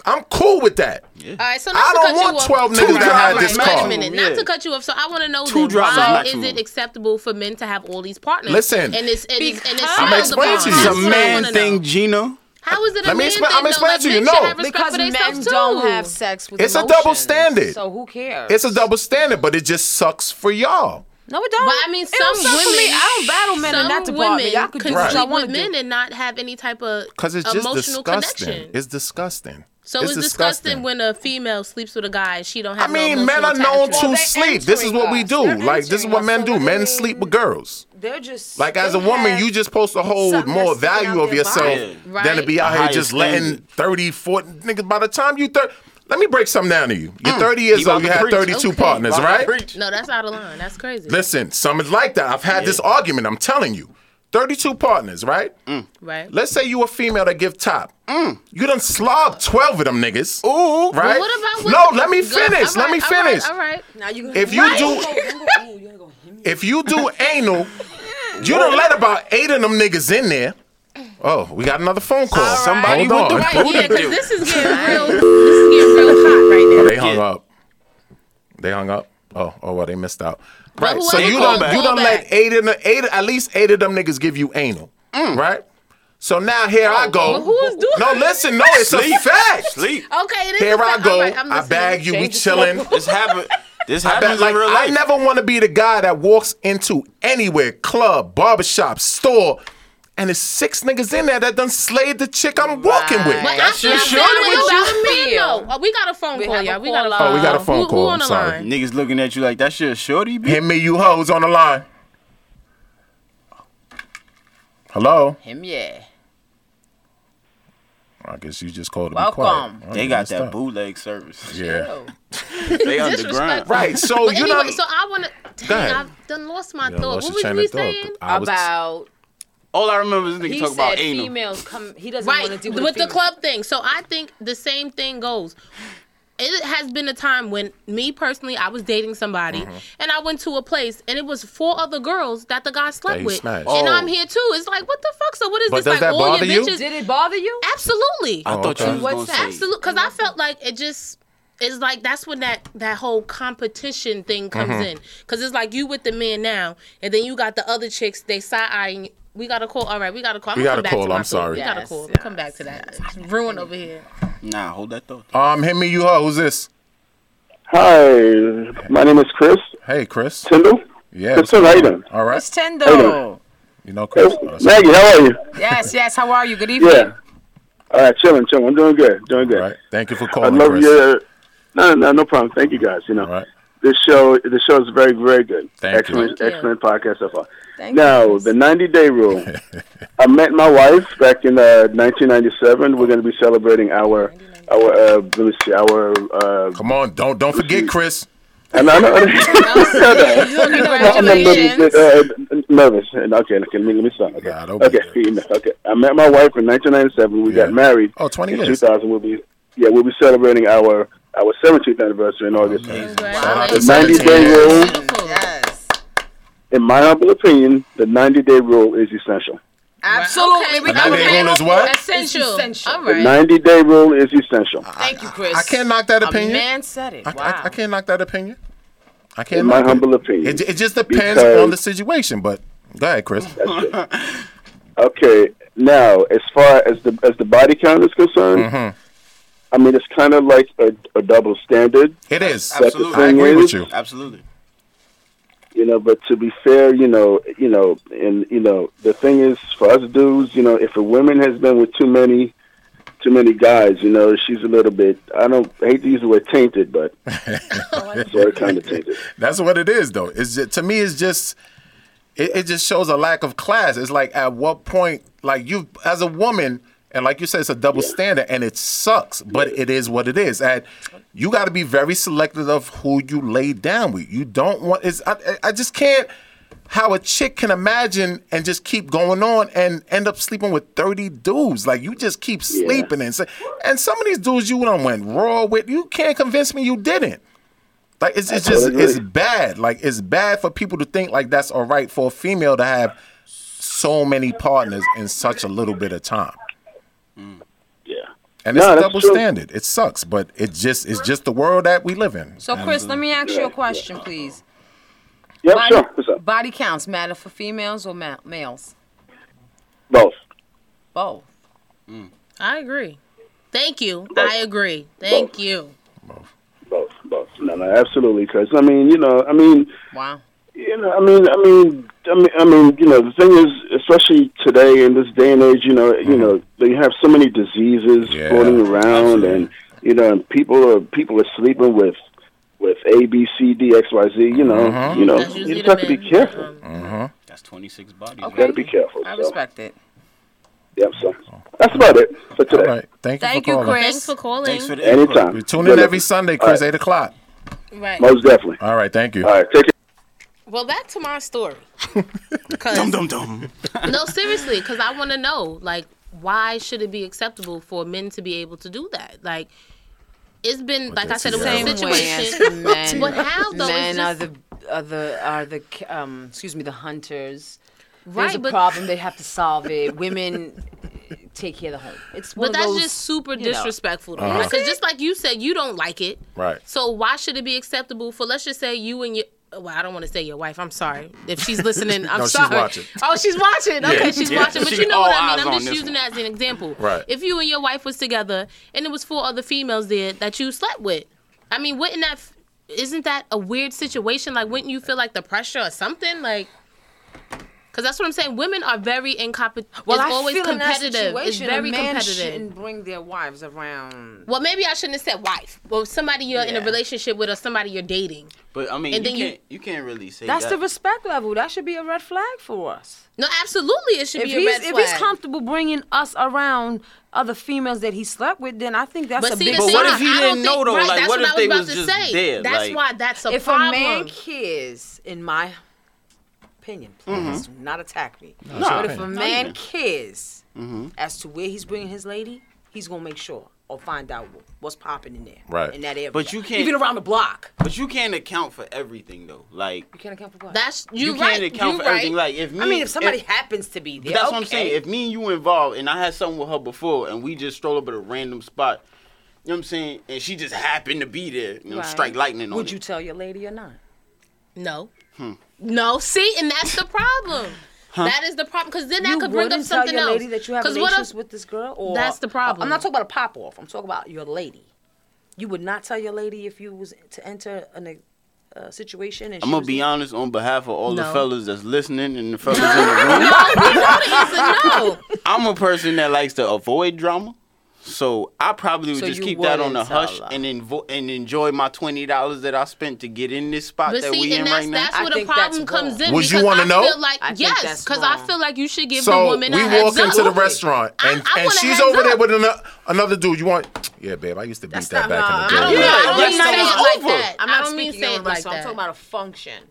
D: I'm cool with that.
C: All right, so not
D: I
C: to
D: don't
C: cut
D: want
C: you off.
D: 12 niggas
A: drivers
D: that had
A: is
D: this
A: maximum.
D: car.
C: Wait a minute, not
A: Yeah.
C: to cut you off. So I want to know
A: Two
C: then
A: drivers
C: why
A: maximum.
C: is it acceptable for men to have all these partners?
D: Listen.
C: and it's and it's, and it's
B: I'm
C: not
D: explaining
C: the
D: to you.
A: It's a
C: partners.
D: That's what I
A: man
C: Wanna know.
A: thing, Gino.
C: How is it a
D: Let me
C: man
D: expla-
C: thing?
D: I'm
C: though?
D: explaining
C: Like,
D: to you.
C: men
D: No.
C: should have respect
B: because
C: for
B: men
C: themselves,
B: don't
C: too.
B: have sex with.
D: It's a double
B: emotions.
D: standard.
B: So who cares?
D: It's a double standard, but it just sucks for y'all.
B: No, it don't.
C: But I mean,
B: It don't
C: some
B: suck for
C: women,
B: me. I don't battle men in
C: some
B: that department.
C: Women
B: Y'all could do
C: can
B: what
D: Right.
B: y'all
C: sleep
B: want
C: with
B: to
C: men
B: do.
C: and not have any type of
D: Because it's just
C: emotional
D: disgusting.
C: connection.
D: It's disgusting.
C: so it's, disgusting when a female sleeps with a guy. She don't
D: I
C: have. no
D: mean, men
C: emotional
D: are known
C: attachment.
D: to
B: they're
D: sleep. This is what we
B: entering
D: do.
B: us. They're
D: Like this is
B: entering
D: what
B: us.
D: men
B: So
D: do.
B: that
D: Men
B: means-
D: sleep with girls.
B: They're just
D: Like as a
B: they
D: woman,
B: have-
D: you just supposed to hold
B: something
D: more
B: that's sticking
D: value
B: out
D: of
B: their
D: yourself
B: body.
A: Yeah.
D: than to be
A: Right.
D: out here
A: Higher
D: just letting
A: standard.
D: 30, 40 niggas by the time you 30 let me break something down to you. You're 30
A: He
D: Mm. years
A: Mm. about
D: old, you
A: to
D: had
A: preach.
D: 32
A: Okay.
D: partners,
A: About to
D: right?
A: preach.
C: No, that's out of line. That's crazy.
D: Listen, some is like that. I've had this argument, I'm telling you. 32 partners, right?
A: Mm.
C: right.
D: Let's say you a female that give top. You done slobbed 12 of them niggas.
A: Ooh,
D: Right?
C: Well, what about
D: no,
C: with-
D: let me
C: Good.
D: finish.
C: All
D: let me
C: right, all right,
D: finish.
C: All right.
B: Now you
D: If you
B: do,
D: If you do anal, you done let about eight of them niggas in there. Oh, we got another phone call.
A: right. Somebody
D: Hold
A: with
D: on.
A: the
C: Right, yeah,
A: Booty do.
C: because this is getting
D: (laughs)
C: real. This is getting real hot right now.
D: Oh, They hung
A: Yeah.
D: up. They hung up. Oh, oh well, they missed out.
C: But
D: Right. So
C: whoever
D: you
C: called
D: done you
C: back.
D: done let eight of the eight at least eight of them niggas give you anal. Right? So now here I go.
C: Mm. Well, who is doing
D: no, listen, no, it's a
A: Sleep.
D: fact.
A: Sleep.
C: Okay, it is
D: Here
C: a
D: I
C: fact.
D: go.
C: All right, I'm
D: I
C: listening.
D: bag you. We chilling.
A: This happen. This
D: That,
A: happens
D: like,
A: in real life.
D: I never want to be the guy that walks into anywhere, club, barbershop, store, and there's six niggas in there that done slayed the chick I'm walking with.
B: Right.
C: But
A: That's
C: I,
A: your
C: feel
A: shorty
C: like
B: with
C: about
B: you
C: men,
B: feel.
C: though. Oh, we got a phone
B: We
C: call,
B: have a
C: y'all. We got a
B: call
C: phone.
B: Oh, we got a
D: phone
C: Who-
D: call.
C: Who on the
D: I'm sorry.
C: line?
A: Niggas looking at you like that's your shorty, bitch.
D: Hit me, you hoes on the line. Hello.
B: (laughs) him, yeah.
D: I guess you just called to
B: Welcome.
D: be quiet.
A: They got
D: Messed
A: that
D: up.
A: bootleg service.
D: Yeah.
A: (laughs) They underground.
C: Disrespectful.
D: Right. So
C: But
D: you
C: anyway,
D: know.
C: so I want to.
D: Go ahead.
C: Dang, I've done lost my
D: Yeah,
C: thought.
D: lost your
C: What was
D: train
C: we
D: of thought,
C: saying?
D: but I was-
B: about
A: All I remember is this nigga
B: he
A: talk
B: said
A: about anal.
B: females come. He doesn't
C: Right
B: want to deal
C: with,
B: with,
C: the club thing. So I think the same thing goes. It has been a time when me personally, I was dating somebody,
D: Mm-hmm.
C: and I went to a place, and it was four other girls that the guy slept
D: he
C: with,
D: smashed.
C: and
A: Oh.
C: I'm here too. It's like, what the fuck? So what is
D: But
C: this?
D: does
C: like
D: that
C: all
D: bother you? Oh,
C: your bitches?
B: Did it bother you?
C: Absolutely.
A: I thought you
D: okay.
A: was
B: What's
A: gonna say.
C: Absolutely, because I felt like it just it's like that's when that that whole competition thing comes
D: Mm-hmm.
C: in. Because it's like you with the man now, and then you got the other chicks. They side eyeing. We got to call. All right, we got to call. I'm
D: We
C: gonna
D: gotta
C: come back
D: call,
C: To my
D: I'm
C: food.
D: sorry.
C: We got to
B: Yes,
C: call.
B: yes,
C: come back to that. It's ruined over here.
A: Nah, hold that thought.
D: Um, hit me, you hoe. Who's this?
I: Hi, my name is Chris
D: Hey, Chris.
I: Tyndall.
D: Yeah.
I: It's all right then.
D: All
B: It's
D: right.
B: Tendo.
D: You know, Chris. That's
I: Maggie, how are you?
B: yes, yes. How are you? Good evening.
I: Yeah. All right, chilling, chilling. I'm doing good, doing
D: all
I: good.
D: right. Thank you for
I: I
D: calling,
I: love
D: Chris.
I: your. No, no, no problem. Thank you guys. You know,
D: All right.
I: this show, this show is very, very good.
D: Thank you.
I: excellent,
C: Thank you.
I: excellent podcast so far.
B: Thank
I: now,
B: you.
I: the 90 day rule.
D: (laughs)
I: I met my wife back in uh, 1997. We're going to be celebrating our, our, uh, let me see, our, uh, (laughs)
D: Come on. Don't don't forget, Chris.
I: And
C: (laughs)
I: I (laughs) know. I'm
C: Congratulations.
I: nervous, uh, nervous. And Okay, okay, let me let me start. Okay,
D: Nah, don't be
I: okay, okay. I met my wife in 1997. We
D: Yeah.
I: got married.
D: Oh, 20
I: in
D: years.
I: 2000, we'll be yeah, we'll be celebrating our our 17th anniversary in August. The 90 day rule,
C: Beautiful.
F: Yes.
I: in my humble opinion, the 90 day rule is essential.
F: Absolutely. We
C: Okay.
F: got
D: Another
F: a
D: rule is what?
C: Essential.
B: essential.
C: All
I: The
C: right.
I: 90 day rule is essential.
F: Thank you, Chris.
D: I can't knock that
B: A
D: opinion.
B: man said it.
D: I,
B: wow.
D: I, I can't knock that opinion. I can't.
I: In my
D: knock it.
I: humble opinion.
D: It, it just depends
I: Because-
D: on the situation, but go ahead, Chris.
I: (laughs) Okay, now as far as the as the body count is concerned,
D: Mm-hmm.
I: I mean it's kind of like a, a double standard,
D: It is.
A: Absolutely.
D: I agree with you.
A: Absolutely.
I: you know. But to be fair, you know, you know, and you know, the thing is for us dudes, you know, if a woman has been with too many, too many guys, you know, she's a little bit. I don't I hate to use the word
D: (laughs)
I: tainted, but sort of kind of tainted.
D: That's what it is, though. It's ju- to me, it's just it, it just shows a lack of class. It's like at what point, like you as a woman, and like you said, it's a double standard, and it sucks, but it is what it is. And you got to be very selective of who you lay down with. You don't want. It's I, I- I just can't. How a chick can imagine and just keep going on and end up sleeping with thirty dudes, like you just keep sleeping and say, and some of these dudes you done went raw with, you can't convince me you didn't. Like it's, it's just
I: totally
D: it's
I: agree.
D: bad. Like it's bad for people to think like that's all right for a female to have so many partners in such a little bit of time.
I: Yeah.
D: And it's
I: No,
D: a
I: that's
D: double
I: true.
D: standard. It sucks, but it just it's just the world that we live in.
F: So, Chris, let me ask you a question, please.
I: Yep.
F: Body,
I: Sure. What's up?
F: body counts matter for females or ma- males?
I: Both.
F: Both.
C: I agree. Thank you. I agree. Thank you.
I: Both. Both. No, no, absolutely. Because I mean, you know, I mean.
F: Wow.
I: You know, I mean, I mean, I mean, I mean, you know, the thing is, especially today in this day and age, you know, you know, they have so many diseases
D: Yeah.
I: floating around, and you know, and people are people are sleeping with with A, B, C, D, X, Y, Z. You know, you know,
C: That's
I: you
C: usually
I: just
C: the um,
I: have to be
C: men.
I: careful.
A: That's 26 bodies.
I: You got to be careful.
F: I
I: so,
F: respect it.
I: Yep. So that's about it for
D: All
I: today.
D: right. Thank you
F: Thank
D: for
F: you,
D: calling.
F: Chris.
C: Thanks for calling.
A: Thanks for the input.
I: Anytime.
D: We tune
I: Good
D: in
I: luck.
D: every Sunday,
I: All
D: Chris,
I: right.
D: eight o'clock.
C: right.
I: Most definitely.
D: All right, thank you.
I: All right. Take care.
C: Well, back to my story. 'Cause-
A: Dum dum dum.
C: no, seriously, because I want to know, like, why should it be acceptable for men to be able to do that? Like, it's been, like I
D: that's
C: said, it was
D: Same
C: a
D: way (laughs)
C: (laughs) situation.
B: men,
C: But how, though? It's
B: men
C: just-
B: are the are the are the um excuse me the hunters. There's
C: Right,
B: a
C: but-
B: problem. They have to solve it. Women (laughs) eh, take care of the home. It's one
C: But
B: of
C: that's
B: those-
C: just super
B: you know.
C: disrespectful. Because just like you said, you don't like it.
D: Right.
C: So why should it be acceptable for, let's just say, you and your. Well, I don't want to say your wife. I'm sorry. If she's listening, I'm
D: No, she's
C: sorry.
D: watching.
C: Oh, she's watching. Okay, she's
A: Yeah.
C: watching. But
A: She
C: you know
A: all
C: what
A: eyes
C: I mean.
A: on
C: I'm just
A: this
C: using that as an example.
D: Right.
C: If you and your wife was together and it was four other females there that you slept with, I mean, wouldn't that? f- Isn't that a weird situation? Like, wouldn't you feel like the pressure or something? Like, because that's what I'm saying. Women are very incompetent.
F: Well,
C: it's
F: I
C: always
F: feel in that
C: competitive. It's
F: situation,
C: very
F: a man
C: competitive.
F: shouldn't bring their wives around.
C: Well, maybe I shouldn't have said wife. Well, somebody you're in a
F: Yeah.
C: relationship with or somebody you're dating.
A: But I mean,
C: And
A: you
C: then you-
A: can't you can't really say
F: That's
A: that.
F: the respect level. That should be a red flag for us.
C: No, absolutely, it should
F: If
C: be a
F: he's
C: red
F: if
C: flag.
F: he's comfortable bringing us around other females that he slept with, then I think that's
C: but
F: a
C: see,
F: big.
C: the
A: But
C: thing
A: what
C: is,
A: if he
C: I don't
A: didn't
C: think-
A: know, though?
C: Right,
A: Like,
C: that's
A: what if
C: I was
A: they
C: about
A: was
C: to
A: just
C: say.
A: there?
C: That's
A: Like-
C: why that's a
F: if
C: problem.
F: a man cares, in my opinion, please do
A: Mm-hmm.
F: not attack me. but if a man cares
A: Mm-hmm.
F: as to where he's bringing his lady, he's gonna make sure or find out wh- what's popping in there,
D: Right.
F: In that area,
A: But you can't-
F: even around the block.
A: But you can't account for everything though. Like
F: You can't account for what.
C: that's
A: you
C: you
A: can't
C: right.
A: account
C: you
A: for
C: right.
A: everything. Like if me,
F: I mean, if somebody
A: if-
F: happens to be there,
A: But that's
F: okay.
A: what I'm saying. If me and you involved, and I had something with her before, and we just stroll up at a random spot, you know what I'm saying, and she just happened to be there, you know,
F: Right.
A: strike lightning on
F: would
A: it.
F: you tell your lady or not?
C: no, no. See, and that's the problem. That is the problem. Because then that
F: you
C: could bring up
F: wouldn't tell
C: something
F: your
C: else.
F: lady that you have
C: 'Cause what
F: relations
C: if-
F: with this girl, or
C: That's the problem.
F: I'm not talking about a pop off. I'm talking about your lady. You would not tell your lady if you was to enter an uh, situation. And
A: I'm
F: she (laughs)
A: gonna
F: was
A: be honest on behalf of all
C: No.
A: the fellas that's listening and the fellas in the room. (laughs)
C: No, we know the answer. No.
A: I'm a person that likes to avoid drama. So I probably would
I: So
A: just
I: you
A: keep that on the
I: wouldn't tell
A: hush
I: her.
A: and invo- and enjoy my twenty dollars that I spent to get in this spot
C: But
A: that
C: see,
A: we in
C: and that's,
A: right now.
C: that's
I: I
C: where the
I: think that's
C: problem comes
I: wrong.
C: in.
D: Would you
C: because
D: wanna
C: I
D: know?
C: feel Like,
B: I think
C: yes,
B: that's
C: because I
B: wrong.
C: feel like you should give the
D: So we
C: woman a
D: walk
C: heads up.
D: into the restaurant
C: I-
D: and,
C: I
D: and
C: want a
D: she's
C: heads
D: over there
C: up.
D: with another, another dude. You want? Yeah, babe. I used to beat
B: That's
D: that
B: not
D: back
B: how-
D: in the
C: I
D: day.
C: don't,
A: Yeah,
C: mean- I don't
A: that's
C: mean say
A: not
C: it like
A: over.
C: that.
B: I'm
C: I
B: not
C: don't mean
B: speaking
C: say
B: on
C: it
B: like
C: like
B: so I'm talking
C: that.
B: about a function.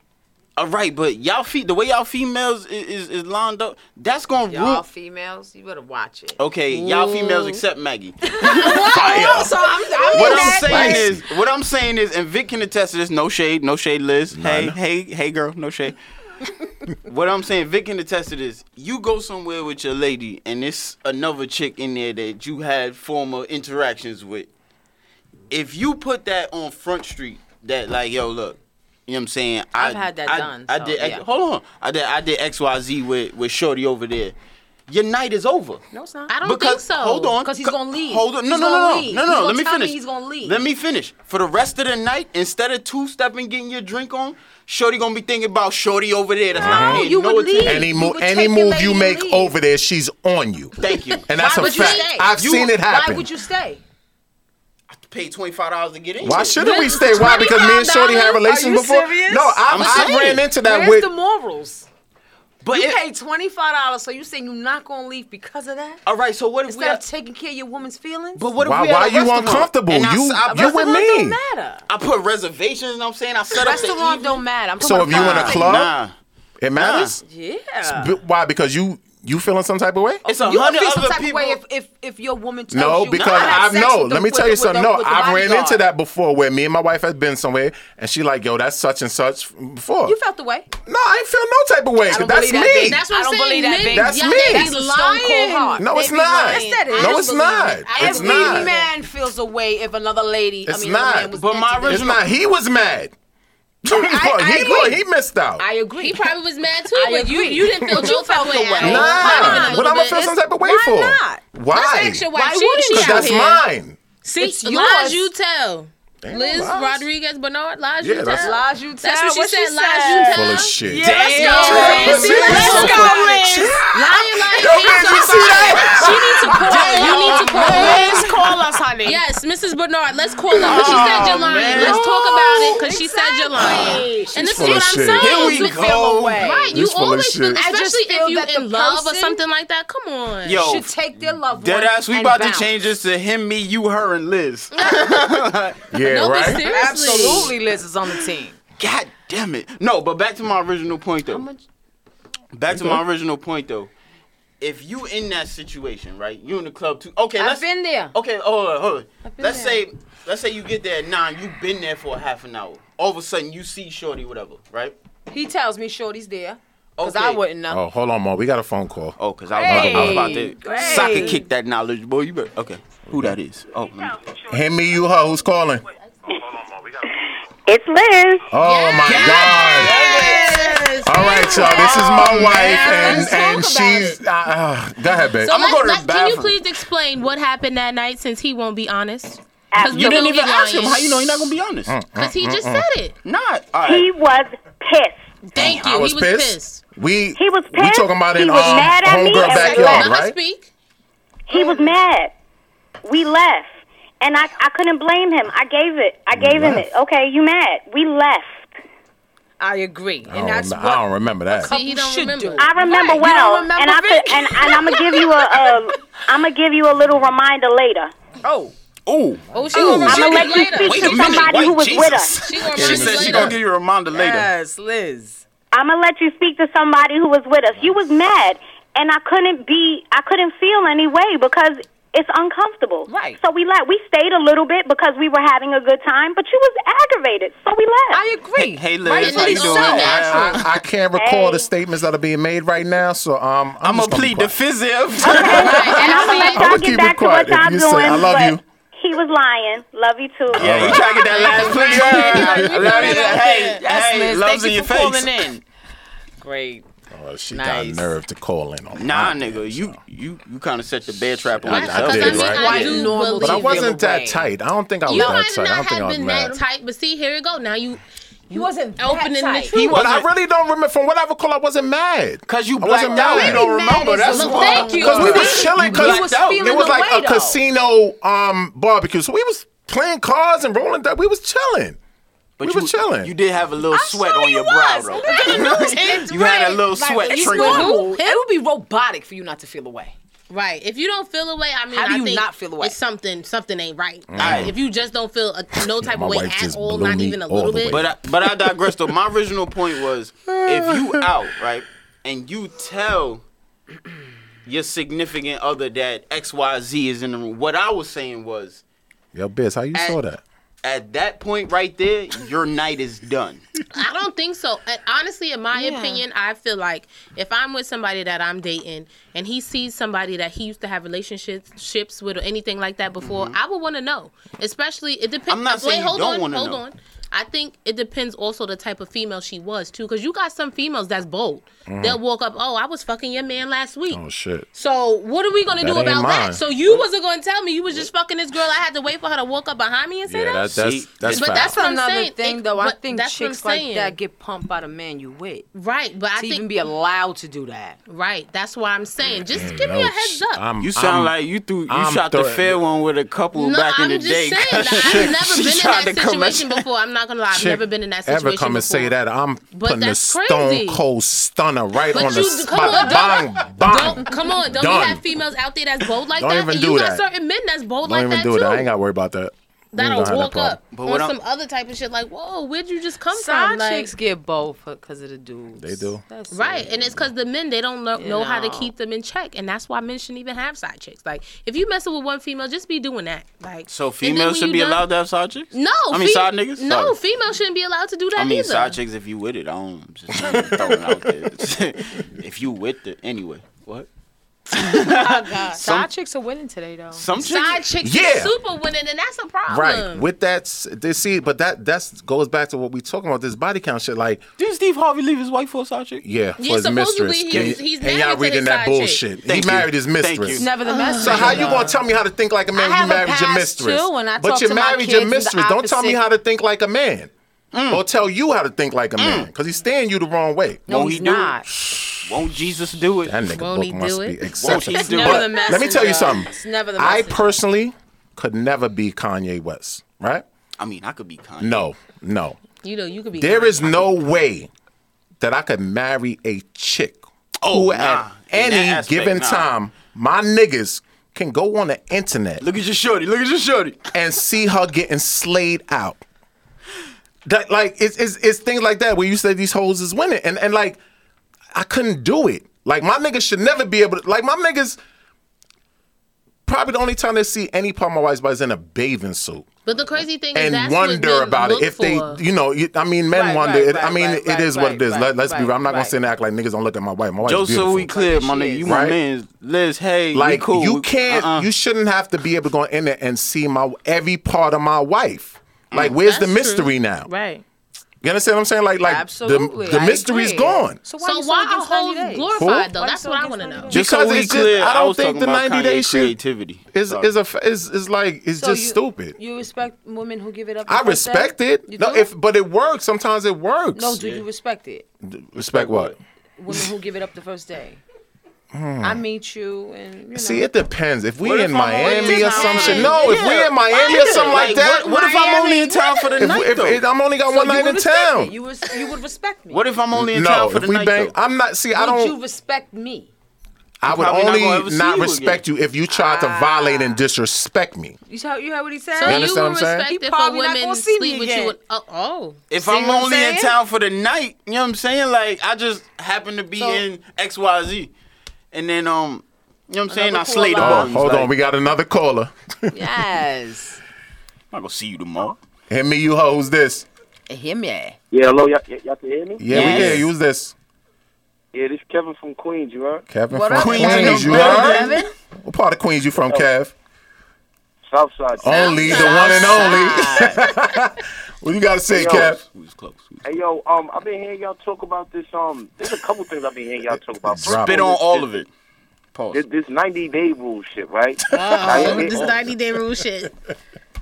A: All right, but y'all feet the way y'all females is is, is lined up, that's gonna
B: Y'all
A: ruin.
B: females, you better watch it.
A: Okay, y'all females except Maggie.
F: Oh,
D: Fire.
B: So I'm, I'm
A: What I'm
B: in that
A: saying
B: place.
A: is, what I'm saying is, and Vic can attest to this. No shade, no shade, Liz. Hey,
D: None.
A: hey, hey, girl, no shade. what I'm saying, Vic can attest to this. You go somewhere with your lady, and it's another chick in there that you had former interactions with. If you put that on Front Street, that like, yo, look. You know what I'm saying?
I: I've
A: I-
I: had that
A: I-
I: done,
A: I
I: so,
A: did.
I: yeah.
A: Hold on. I did. I did X Y Z with with Shorty over there. Your night is over.
B: No, it's not.
C: I don't think so.
A: Hold on,
B: 'Cause he's
A: c-
B: gonna leave.
A: Hold on, no,
B: He's
A: no,
B: gonna
A: no,
B: leave.
A: no, no,
B: He's
A: no.
B: gonna
A: Let me
B: tell me
A: finish.
B: he's gonna leave.
A: Let me finish. For the rest of the night, instead of two stepping, getting your drink on, Shorty gonna be thinking about Shorty over there. That's not
B: No,
A: paying
B: you
A: no
B: would
A: attention.
B: leave.
D: Mm-hmm. Uh-huh. Any
B: You
D: move,
B: would
D: any move
B: take your lady
D: you
B: and
D: make
B: leave.
D: over there, she's on you,
A: Thank you.
D: and that's
B: Why
D: a
B: would you
D: fact.
B: stay?
D: I've
A: You-
D: seen it
B: Why
D: happen.
B: would you stay?
A: Pay twenty five dollars to get in.
D: Why shouldn't we stay? Why? Because me and Shorty had
B: Are
D: relations
B: you
D: before.
B: serious?
D: No, I,
A: I'm
D: I
A: saying.
D: ran into that
B: Where's
D: with.
B: the morals?
A: But
B: You
A: it-
B: paid twenty five dollars, so you saying you're not gonna leave because of that?
A: all right. So what if we?
B: Instead of
A: At,
B: taking care of your woman's feelings?
A: but what if
D: Why-
A: we? at
D: why
A: a
D: you
A: restaurant?
D: uncomfortable?
A: And I,
D: You-
A: s- I,
D: you with
A: I,
B: Restaurant
D: me.
B: don't matter.
A: I put reservations. You know what I'm saying? I set up the
B: Restaurant
A: evening.
B: don't matter. I'm talking
D: So
B: about
D: if you in a
B: fine.
D: club-
A: Nah,
D: It matters.
B: yeah.
D: B- Why? Because you you feeling some type of way?
A: it's a
B: You would
A: hundred
B: feel some
A: other
B: type of
A: people.
B: way if, if, if your woman tells
D: No,
B: you
D: because
B: "I had
D: I've no.
B: sex with the-
D: Let me
B: with
D: tell
B: the-
D: you
B: with
D: something.
B: the-
D: No,
B: with the
D: I've ran
B: bodyguard."
D: into that before where me and my wife has been somewhere and she like, yo, that's such and such before.
B: You felt the way.
D: no, I ain't feel no type of way.
B: I don't
D: That's
B: believe that,
D: me.
B: babe.
C: That's what
B: I
C: I'm
B: don't
C: saying.
B: believe that,
C: Niggas-
B: babe.
D: That's
C: y'all
D: me.
C: niggas
B: That's a stone cold heart.
C: lying.
D: No,
C: They
D: it's
C: be
D: not.
C: lying.
B: Yes, that is.
C: I
B: No,
C: don't
D: it's
C: believe
D: not.
C: it. I
D: It's
C: don't
B: Every
C: believe
D: not.
C: it.
B: man feels a way if another lady. I
D: It's
B: mean, another
D: not.
B: Man was
A: But my
B: into them.
D: It's not. He was mad. (laughs) Look,
B: I
D: he,
B: agree.
D: look, he missed out.
B: I agree.
C: He probably was
B: (laughs)
C: mad too,
B: I
C: but you
B: agree.
C: you didn't
D: (laughs)
C: feel
B: But
C: no
B: you felt
C: type of way.
B: the way.
C: Not even
D: nah,
C: a
D: what
C: little
D: I'm gonna
C: bit.
D: feel some type of way
B: Why
D: for?
B: not?
C: Let's
D: Why?
C: ask your
B: Why
C: wife. She,
B: wouldn't
C: she
B: you?
C: out
D: Because that's
C: here.
D: mine.
C: See,
B: It's yours.
C: lies you tell.
D: Damn,
C: Liz
D: lies.
C: Rodriguez Bernard, lies
D: Yeah,
C: you
D: that's-
C: tell.
B: Lies you tell.
C: That's what she said. lies you
D: Full
C: tell.
D: of shit.
B: Yeah, let's go,
C: Damn,
B: Liz.
D: Liz.
B: Let's go, Liz.
C: Lying like
D: Yo,
C: you
D: man, you see that?
C: She needs to call. you need to call.
I: Please call us, honey.
C: Yes, Mrs. Bernard, let's call her. But she said you're lying.
A: man.
C: Let's talk about it because she said you're lying. And this is
D: full
C: what
D: of
C: I'm
D: shit.
C: saying.
A: Here
C: You
A: we
C: feel
A: go.
B: away.
C: Right, you
D: This full of
C: always feel,
D: shit. I
B: just
C: especially
B: feel
C: if you
B: that the
C: in love or
B: person
C: something like that. Come on.
A: Yo,
B: Should take their loved one.
A: Dead ass, we
B: and
A: about
B: bounce.
A: to change this to him, me, you, her, and Liz. (laughs)
D: Yeah,
C: no, but
D: right?
C: seriously.
B: Absolutely, Liz is on the team.
A: God damn it. No, but back to my original point though. Back to my original point though. If you in that situation, right? You in the club too. Okay,
B: I've
A: let's
B: been there.
A: Okay, hold on, hold on.
B: been
A: Let's
B: there.
A: say let's say you get there at nine, you've been there for a half an hour. All of a sudden you see Shorty, whatever, right?
B: He tells me Shorty's there. Because
A: Okay.
B: I wouldn't know.
D: Oh, hold on, Mo. We got a phone call.
A: Oh, cause I was, about, I was about
B: Hey,
A: to
B: great.
A: socket kick that knowledge, boy. You better okay. Who that is? Oh, let me-
D: Him, me, you, her. Who's calling?
F: It's Liz.
D: Oh my God.
C: Yes.
D: All right, y'all. This is my wife, and
C: let's talk
D: and
C: about
D: she's. Uh, uh, go ahead, babe.
C: So
A: I'ma go to the
C: let's, let, can you
A: bathroom.
C: please explain what happened that night since he won't be honest?
A: You Mm, didn't even ask him. How you know he's not gonna be honest?
D: Mm,
C: Because he just said it.
A: Not. All right.
F: He was pissed.
C: Thank you.
D: I was,
C: he was
D: pissed.
C: pissed.
D: We
F: He was
D: We
F: pissed.
D: talking about in
F: He was
D: um,
F: mad at me
D: homegirl
F: and
D: backyard,
F: left.
C: Let her
D: right?
C: speak.
F: He was mad. We left, and I I couldn't blame him. I gave it. I gave him
D: left.
F: it. Okay, you mad? We left.
B: I agree.
D: I don't,
B: And that's
D: remem-
B: what
D: I don't remember that.
C: See, he
B: You
C: don't
B: should
C: remember.
B: do it.
F: I remember
B: Right, you
F: well,
B: don't remember
F: and I
B: Vic?
F: could, and, and I'm gonna give you a, a I'm gonna give you a little reminder later.
B: Oh,
A: Ooh.
C: Oh, she gonna
F: I'm gonna
C: remember
F: let you
C: later.
F: speak
A: Wait
F: to
A: a minute.
F: somebody
A: Wait,
F: who was with
A: Jesus.
F: us.
C: She gonna
D: She
A: She said
C: remember
A: she
C: later.
A: gonna give you a reminder later.
B: yes, Liz.
F: I'm gonna let you speak to somebody who was with us. You was mad, and I couldn't be. I couldn't feel any way because it's uncomfortable.
B: Right.
F: So we left. We stayed a little bit because we were having a good time, but you was aggravated, so we left.
B: I agree.
A: Hey, Liz,
B: Rightfully
A: how you doing?
B: so.
A: I-
D: I, I, I can't recall the
F: Hey.
D: statements that are being made right now, so um, I'm,
A: I'm
D: just gonna
A: gonna plead
D: be quiet. (laughs)
A: defensive. (laughs)
F: and I'm gonna let
D: I'ma
F: y'all
D: keep it
F: get back to
D: quiet
F: what
D: if
F: y'all
D: you
F: doing.
D: say, "I love
F: but
D: you."
F: He was lying. Love you too.
A: Yeah, you try to get that last
B: (laughs)
A: plea. Yeah. Love you. Hey,
B: Yes,
A: hey,
B: Liz.
A: love's
B: Thank you
A: in your
B: for
A: face.
B: calling in. Great.
D: Oh, she
B: Nice.
D: got nerve to call in on
A: Nah,
D: my
A: nigga,
D: bitch,
A: you
D: so.
A: you you kind of set the bear trap on
D: I- I
A: yourself.
C: Because I
D: did,
C: mean,
D: right?
C: I
B: Quite
C: do
B: normal
C: believe
B: to
D: But I
B: you.
D: wasn't that
B: away.
D: tight. I don't think I was
C: You
D: that
C: might
D: tight. I
C: not
D: don't think I
C: have
D: was
C: been
D: mad.
C: that tight, but see, here we go. Now you
F: He wasn't that
C: Opening the
F: type.
C: truth.
A: He
D: But I
A: wasn't-
D: really don't remember. From what I recall, I wasn't mad.
A: Cause you
D: I
A: blacked
D: wasn't
A: out.
D: mad.
A: You don't remember. That's
C: Look,
A: why.
C: thank you.
D: Because we was
C: See?
D: chilling.
F: You
D: Because
F: was feeling
D: it was
F: the
D: like
F: way,
D: a
F: though.
D: casino um, barbecue. So we was playing cards and rolling dice. We was chilling.
A: But
D: we
A: you
D: was chilling.
A: You did have a little sweat on your brow,
C: (laughs)
A: though. you had a little sweat
F: It's
A: trickling.
F: normal. It would be robotic for you not to feel away.
C: Right. If you don't feel away, I mean,
F: How do
C: I
F: you
C: think
F: not feel away?
C: It's something. Something ain't right.
A: Aight.
C: If you just don't feel a, no type
D: My
C: of way
D: wife
C: at
D: just
C: all,
D: blew
C: not
D: me
C: even a
D: all
C: little
D: the way.
C: bit.
A: But I, but I digress. Though my original point was, if
C: (laughs)
A: you out right and you tell your significant other that X Y Z is in the room, what I was saying was,
D: Yo, Biz, how you
A: At-
D: saw that?
A: at that point right there, your night is done.
C: I don't think so. And honestly, in my opinion, I feel like if I'm with somebody that I'm dating and he sees somebody that he used to have relationships ships with or anything like that before, I would want to know. Especially, it depends.
A: Mm-hmm. I'm not saying you
C: hold
A: don't
C: on,
A: wanna
C: hold
A: know.
C: on. I think it depends also the type of female she was too, because you got some females that's bold. They'll walk up, oh, I was fucking your man last week.
D: Mm-hmm. Oh shit.
C: So what are we gonna
D: That
C: do
D: ain't
C: about
D: mine.
C: that? So you wasn't gonna tell me you was just fucking this girl. I had to wait for her to walk up behind me and say that.
A: that's- that's
C: But
D: fact.
C: that's what I'm
F: another
C: saying.
F: thing,
C: It-
F: though. I
C: but
F: think
C: that's what I'm
F: chicks like
C: saying.
F: that get pumped by the man you with
C: Right, but I
F: to
C: think
F: even be allowed to do that.
C: right. That's why I'm saying. Just give me a heads up.
A: You sound like you threw you
D: I'm
A: shot the
D: throwing-
A: fair one with a couple
C: no,
A: back
C: I'm
A: in the
C: just
A: day.
C: saying. that I've never
A: She
C: been
A: tried to
C: in that
A: come at
C: situation
A: you.
C: before. I'm not gonna lie. I've
D: Chick
C: never been in that situation
D: Ever come
C: before.
D: and say that? I'm putting the
C: that's
D: stone
C: crazy.
D: cold stunner right
C: But
D: on the
C: you come
D: spot.
C: on,
D: Bang,
C: don't-
D: bang.
C: Don't come on. Don't
D: Done.
C: we have females out there that's bold like
D: Don't
C: that?
D: even
C: and
D: do
C: you
D: that.
C: got certain men that's bold
D: Don't
C: like
D: even
C: that
D: do it.
C: too.
D: I ain't gotta worry about that. We ain't
C: That'll
D: gonna have
C: walk
D: problem.
C: up
A: But
C: on
A: what I'm-
C: some other type of shit. Like, whoa, where'd you just come
F: Side
C: from? Like,
F: chicks get bold because of the dudes.
D: They do.
F: That's
C: Right, and it's because the men they don't know, know how to
F: know.
C: keep them in check, and that's why men shouldn't even have side chicks. Like, if you messing with one female, just be doing that. Like,
A: So
C: and then when
A: females should
C: you
A: be
C: done-
A: allowed to have side chicks?
C: No,
A: I mean
C: fe-
A: side niggas.
C: No,
A: Sorry.
C: females shouldn't be allowed to do that
A: I mean
C: either.
A: side chicks. If you with it, I don't. I'm Just throwing it out there. (laughs) if you with it, anyway. What?
D: Oh,
F: Side chicks are winning today, though.
A: Some chicks.
C: Side chicks
D: Yeah.
C: are super winning, and that's a problem.
D: Right. With that, s- they see, but that that's goes back to what we talking about this body count shit. Like,
A: Did Steve Harvey leave his wife for a side chick?
D: yeah, for
C: Yeah,
D: his
C: supposedly
D: mistress,
C: he's-
D: and,
C: he's
D: and y'all
C: married to
D: reading
C: this
D: that
C: side chick.
D: bullshit. he
A: Thank you.
D: married his
A: Thank you.
D: mistress. Uh-huh.
F: Nevertheless,
D: So how you gonna tell me how to think like a man?
F: I
D: when
F: have
D: you
F: a
D: married your
F: past,
D: mistress,
F: too, and I
D: but
F: talk
D: you
F: to my
D: married your
F: kids the
D: mistress. Don't tell me
F: opposite.
D: how to think like a man.
A: Mm.
D: Don't tell you how to think like a man because he's staying you the wrong way.
F: no,
A: Won't
F: he's
A: Mm. he do it?
F: not.
A: Won't Jesus do it?
D: That nigga
C: Won't
D: book
C: he
D: must
C: do
D: be
C: it?
D: exceptional.
A: Won't he do
F: never
A: it?
F: the
D: Let me tell you
F: messenger.
D: something.
F: It's never the
D: I
F: messenger.
D: personally could never be Kanye West, right?
A: I mean, I could be kind.
D: No, no.
C: You know, you could be.
D: There is no way that I could marry a chick who
A: Oh, nah.
D: at
A: In
D: any
A: that aspect,
D: given
A: nah.
D: time my niggas can go on the internet
A: Look at your shorty. Look at your shorty.
D: and see her getting slayed out. That like it's, it's it's things like that where you say these hoes is winning and and like I couldn't do it. Like my niggas should never be able to like my niggas probably the only time they see any part of my wife's body is in a bathing suit
C: But the crazy thing is,
D: and
C: that's what
D: wonder
C: men
D: about it
C: look
D: if they
C: for.
D: you know you- I mean men
F: Right,
D: wonder
F: right,
D: it, I
F: right,
D: mean
F: right,
D: it is
F: right,
D: what it is.
F: right,
D: Let, let's be
F: right,
D: real. I'm not gonna
F: right.
D: sit and act like niggas don't look at my wife. My wife's
A: Joe, so
D: beautiful.
A: we clear, my
F: Like she
A: nigga. You
F: is.
D: Right.
A: my man's Liz. Hey,
D: Like
A: we cool.
D: you
A: We-
D: can't,
A: uh-uh.
D: you shouldn't have to be able to go in there and see my every part of my wife. Like, where's the
C: That's
D: mystery
C: true.
D: now?
C: Right.
D: You understand what I'm saying? Like, like
F: Absolutely.
D: the the
F: I
D: mystery's
F: agree.
D: gone.
F: So why,
C: So
F: you
C: why
F: against 90
C: are hoes
F: days?
C: glorified
D: Who?
C: though?
F: Why you
C: that's
F: so
C: what I
F: against
C: want to
F: 90
C: know.
F: days?
A: Just so
D: because
A: we
D: it's just-
A: clear,
D: I don't
A: was
D: think
A: talking
D: the
A: about
D: 90 day
A: Kanye's
D: shit
A: creativity.
D: Is
A: Sorry.
D: is a f- is is like it's
F: So
D: just
F: you-
D: stupid.
F: You respect women who give it up. the
D: I
F: first
D: respect
F: day?
D: it.
F: You
D: No,
F: do?
D: if but it works. Sometimes it works.
F: no, do you respect it?
D: respect what?
F: Women who give it up the first day.
D: Hmm.
F: I meet you and you know.
D: See, it depends. If we
A: What
D: in
A: if I'm
D: Miami
A: only
D: or
A: in
D: some
A: town?
D: shit, no. If we
A: Yeah.
D: in Miami or something like that,
A: What, what if I'm only in town for the
D: if,
A: night
D: if,
A: though?
D: if I'm only got
F: So
D: one
F: you
D: night
F: would
D: in
F: respect
D: town,
F: me. You would, you would respect me.
A: what if I'm only in
D: no.
A: town for
D: If
A: the
D: we
A: night
D: bang,
A: though?
D: I'm not. See, I
F: would
D: don't.
F: you respect me?
D: I would
A: probably not
D: only
A: gonna
D: not,
A: ever see you
D: respect you if you tried to violate and disrespect me.
F: You heard, you heard what he said?
C: So
D: You
C: you
D: understand what
C: were
D: I'm saying?
F: He
C: respected for
F: probably not
C: women
F: gonna see me
C: sleep with
F: again.
C: you. and- Oh, oh.
A: If
F: See
A: I'm
F: what I'm
A: only in
F: saying?
A: town for the night, you know what I'm saying? Like I just happen to be
F: So-
A: in XYZ. And then um you know what I'm saying? I
F: Another
A: slay the
F: call
D: Oh,
A: buttons.
D: hold
A: like,
D: on, we got another caller.
F: (laughs) yes.
A: I'm not gonna see you tomorrow.
D: Hit me, you hoes. This.
F: Hear me.
J: Yeah, hello, y'all, y- y'all can hear me?
D: Yeah,
A: Yes.
D: we did. Use this.
J: Yeah, this is Kevin from Queens, you heard?
D: Kevin
F: What
D: from
F: up,
D: Queens.
A: Kevin?
D: you heard? What part of Queens you from,
J: Oh.
D: Kev?
J: Southside.
D: Only the one and only. (laughs) what you got to say,
J: Yo.
D: Kev?
A: We was close. We was-
J: Hey, yo, um, I've been hearing y'all talk about this. Um, there's a couple things I've been hearing y'all talk
D: Drop
J: about. First
A: Spit
J: of
A: on
J: this-
A: all of it. Pause.
J: This, this 90 day rule shit,
C: (laughs)
J: right? Now, here- here-
C: this 90 day rule shit.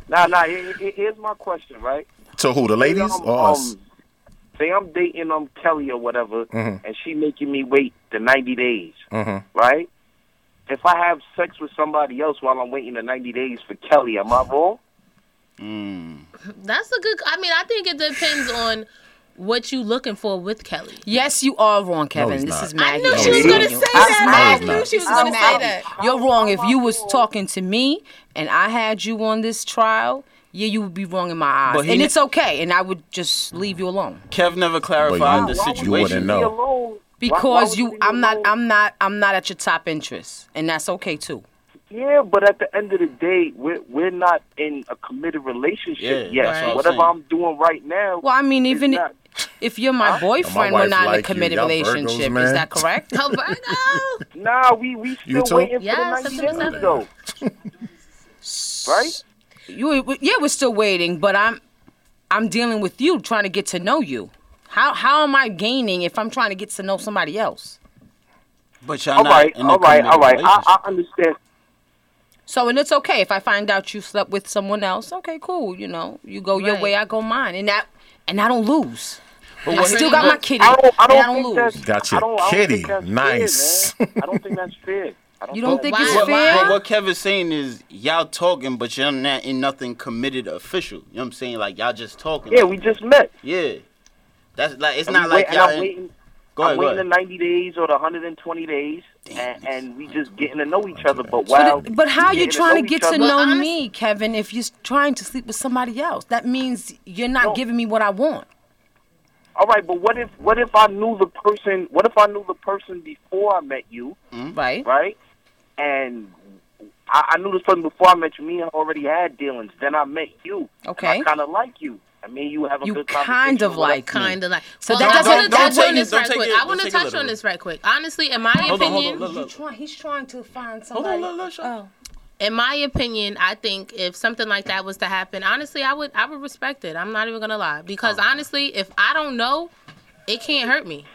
J: Nah, nah, here- here- here's my question, right?
D: To who? The ladies
J: Um,
D: or us?
J: um, say I'm dating um Kelly or whatever,
D: Mm-hmm.
H: Mhm.
J: and she making me wait the 90 days,
H: Mhm.
J: right? If I have sex with somebody else while I'm waiting the 90 days for Kelly, am I wrong?
A: Hmm.
C: That's a good. I mean, I think it depends on what you looking for with Kelly.
B: Yes, you are wrong, Kevin.
D: he's
B: this
D: not.
B: is Maggie.
C: knew she was gonna say that.
D: I knew
C: she was gonna say that. Oh,
B: You're wrong. If you was talking to me and I had you on this trial, yeah, you would be wrong in my eyes,
A: But he
B: and
A: ne-
B: it's okay. And I would just leave you alone
A: Kev never
D: But
A: clarified
D: you-
A: the
D: you wouldn't
A: situation.
D: know. No.
J: Be alone.
B: because
J: Why- why would
B: you.
J: leave me
B: I'm not.
J: alone?
B: I'm not. I'm not at your top interest, and that's okay too.
J: Yeah, but at the end of the day, we're we're not in a committed
A: Yeah,
J: relationship
A: that's
J: yet.
A: what I'm
J: Whatever
A: saying.
J: I'm doing right now,
B: Well, I mean, even
J: not-
B: if you're my boyfriend, we're
D: wife
B: not in a
D: like you.
B: committed
D: Y'all Virgos,
B: relationship. is
D: man. (laughs)
B: that correct?
C: Oh, Virgo.
J: nah, we we
D: You
J: still
D: too?
J: waiting
C: Yeah,
J: for the 90
C: September
J: days though. right?
B: you, yeah, we're still waiting, but I'm, I'm dealing with you, trying to get to know you. How how am I gaining if I'm trying to get to know somebody else?
A: But y'all
J: All
A: not
J: right,
A: in a
J: all right, all right.
A: committed
J: I, I understand.
B: So and it's okay if I find out you slept with someone else. Okay, cool. You know, you go your
C: Right.
B: way, I go mine, and that and I don't lose.
A: But
B: I
A: what-
B: still got my kitty,
J: I don't, I
B: and
J: don't,
B: I don't
J: think
B: lose.
J: that's
D: Got
J: I
D: your
J: don't, I don't
D: kitty.
J: Think that's
D: Nice.
J: Fair, man. I don't think that's fair. I don't
B: You don't think it's
C: Why-
A: But,
B: fair?
A: but what Kevin's saying is y'all talking, but y'all not in nothing committed official. You know what I'm saying? Like y'all just talking.
J: Yeah, we just met.
A: yeah. That's like (laughs) it's
J: And
A: not
J: we wait-
A: like
J: and
A: y'all.
J: I'm
A: in-
J: waiting.
A: go ahead.
J: I'm
A: go
J: waiting the
A: ahead.
J: 90 days or the 120 days, and, and we just getting to know each other. But
B: But,
J: wow,
B: it- but how are you
J: getting
B: trying to get
J: each
B: to
J: other.
B: know
C: honest-
B: me, Kevin, if you're trying to sleep with somebody else? That means you're not
J: No.
B: giving me what I want.
J: All right, but what if what if I knew the person? What if I knew the person before I met you,
D: Hmm?
B: Right?
J: right? And I, I knew this person before I met you. Me and her already had dealings. Then I met you.
B: Okay.
J: And I kind of like you. I mean, you have a
B: You
J: good
B: kind
J: conversation
B: of
J: or whatever.
B: like
C: Kind of like.
B: So
C: So
B: that
C: I
B: doesn't-
C: want to
B: don't
C: touch
B: take
C: on
B: it-
C: this
A: don't
C: right
A: take
C: quick.
A: it-
C: I want
A: don't
C: to
A: take it
C: touch on
A: literally.
C: this right quick. Honestly, in my
A: Hold on, hold on,
C: opinion,
A: look, look.
B: You try- he's trying to find
A: Hold
B: somebody.
A: on, look, look, shut up.
C: in my opinion, I think if something like that was to happen, honestly, I would I would respect it. I'm not even gonna lie because
B: Oh.
C: honestly, if I don't know, it can't hurt me.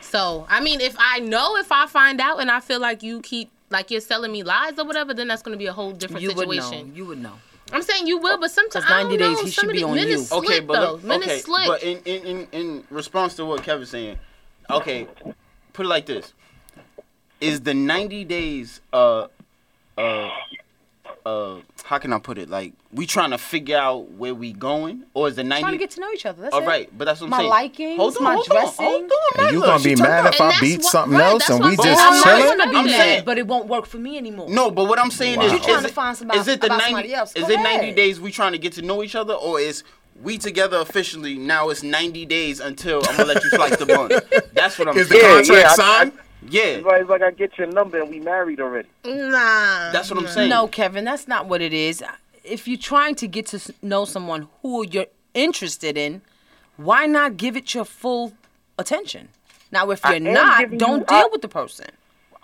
C: So I mean, if I know, if I find out, and I feel like you keep like you're selling me lies or whatever, then that's gonna be a whole different
B: Oh, you would
C: situation.
B: know. You would know.
C: I'm saying you will, but sometimes
B: 'Cause 90
C: I don't
B: days,
C: know.
B: he should
C: Some of
B: be
C: these
B: on
C: men
B: you.
C: is
A: Okay,
C: slick
A: but
C: though.
A: look-
C: Men
A: okay,
C: is slick.
A: but in, in in in response to what Kevin's saying, okay, put it like this: Is the ninety days uh uh uh how can I put it? Like we trying to figure out where we going, or is the ninety?
B: Trying to get to know each other. That's
A: All
B: it.
A: right, but that's what I'm
B: My
A: saying.
B: likings,
A: hold on,
B: my
A: hold
B: dressing.
A: On, hold on,
D: And you
A: Magla,
D: gonna
A: she
D: be
A: turned
D: mad
A: up.
D: if I
C: And
D: beat
C: that's why-
D: something
C: right,
D: else
C: that's
D: and
C: why
D: we
C: I'm
D: just
C: saying.
B: I'm not
C: Really?
D: chilling?
B: gonna
C: I'm
B: be
C: saying-
B: that, but it won't work for me anymore.
A: No, but what I'm saying
D: Wow.
A: is,
D: You trying
A: is
D: to
A: it-
B: find somebody-
A: is it the
B: about
A: 90,
B: somebody else.
A: Is
B: Go
A: it 90
B: ahead.
A: days we trying to get to know each other, or is we together officially? Now it's 90 days until I'm gonna let you slice the
B: (laughs)
A: bun. That's what I'm
D: Is the
A: saying.
J: Yeah,
D: contract
J: yeah, I-
D: signed?
A: yeah,
J: It's like, it's like I get your number and we married already.
C: Nah.
A: that's what I'm saying.
B: No, Kevin, that's not what it is. If you're trying to get to s- know someone who you're interested in, why not give it your full attention? Now, if
J: I
B: you're
J: am
B: not,
J: giving
B: don't
J: you-
B: deal
J: I-
B: with the person.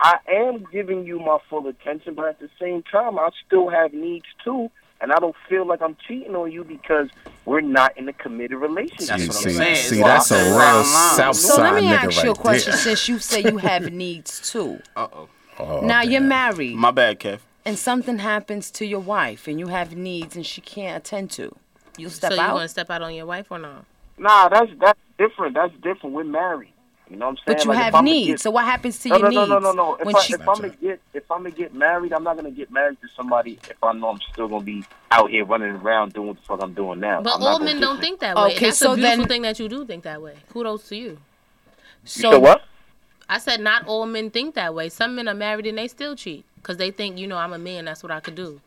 J: I am giving you my full attention, but at the same time, I still have needs too, and I don't feel like I'm cheating on you because we're not in a committed relationship.
A: That's
D: See,
A: what I'm
D: see,
A: saying.
D: see,
A: Well,
D: that's
A: I'm
D: a
A: saying
D: real
A: bottom line.
D: South
B: So let
D: Side
B: me
D: nigga
B: ask
D: right
B: you a question
D: there.
B: since you say
J: (laughs)
B: you have needs too.
A: Uh oh,
D: Oh,
B: now, you're
D: damn.
B: married
A: my bad, Kev.
B: and something happens to your wife and you have needs and she can't attend to. You'll
C: So
B: step
C: you
B: out.
C: gonna step out on your wife or not?
J: Nah, that's that's different. That's different. We're married. You know what I'm saying?
B: but you
J: Like, if
B: have
J: I'ma
B: needs.
J: get-
B: so what happens to
J: no, no,
B: your
J: no,
B: needs?
J: no, no, no. If,
B: When
J: I,
B: she,
J: if I'm gonna get if I'm gonna get married, I'm not gonna get married to somebody if I know I'm still gonna be out here running around doing what the fuck I'm doing now.
C: But
J: I'm not
C: all
J: gonna
C: men
J: get
C: don't
J: you.
C: think that way.
B: Okay,
C: that's
B: so
C: a beautiful
B: then-
C: thing that you do think that way. Kudos to you.
J: You said what?
C: I said not all men think that way. Some men are married and they still cheat because they think, you know, I'm a man. That's what I could do.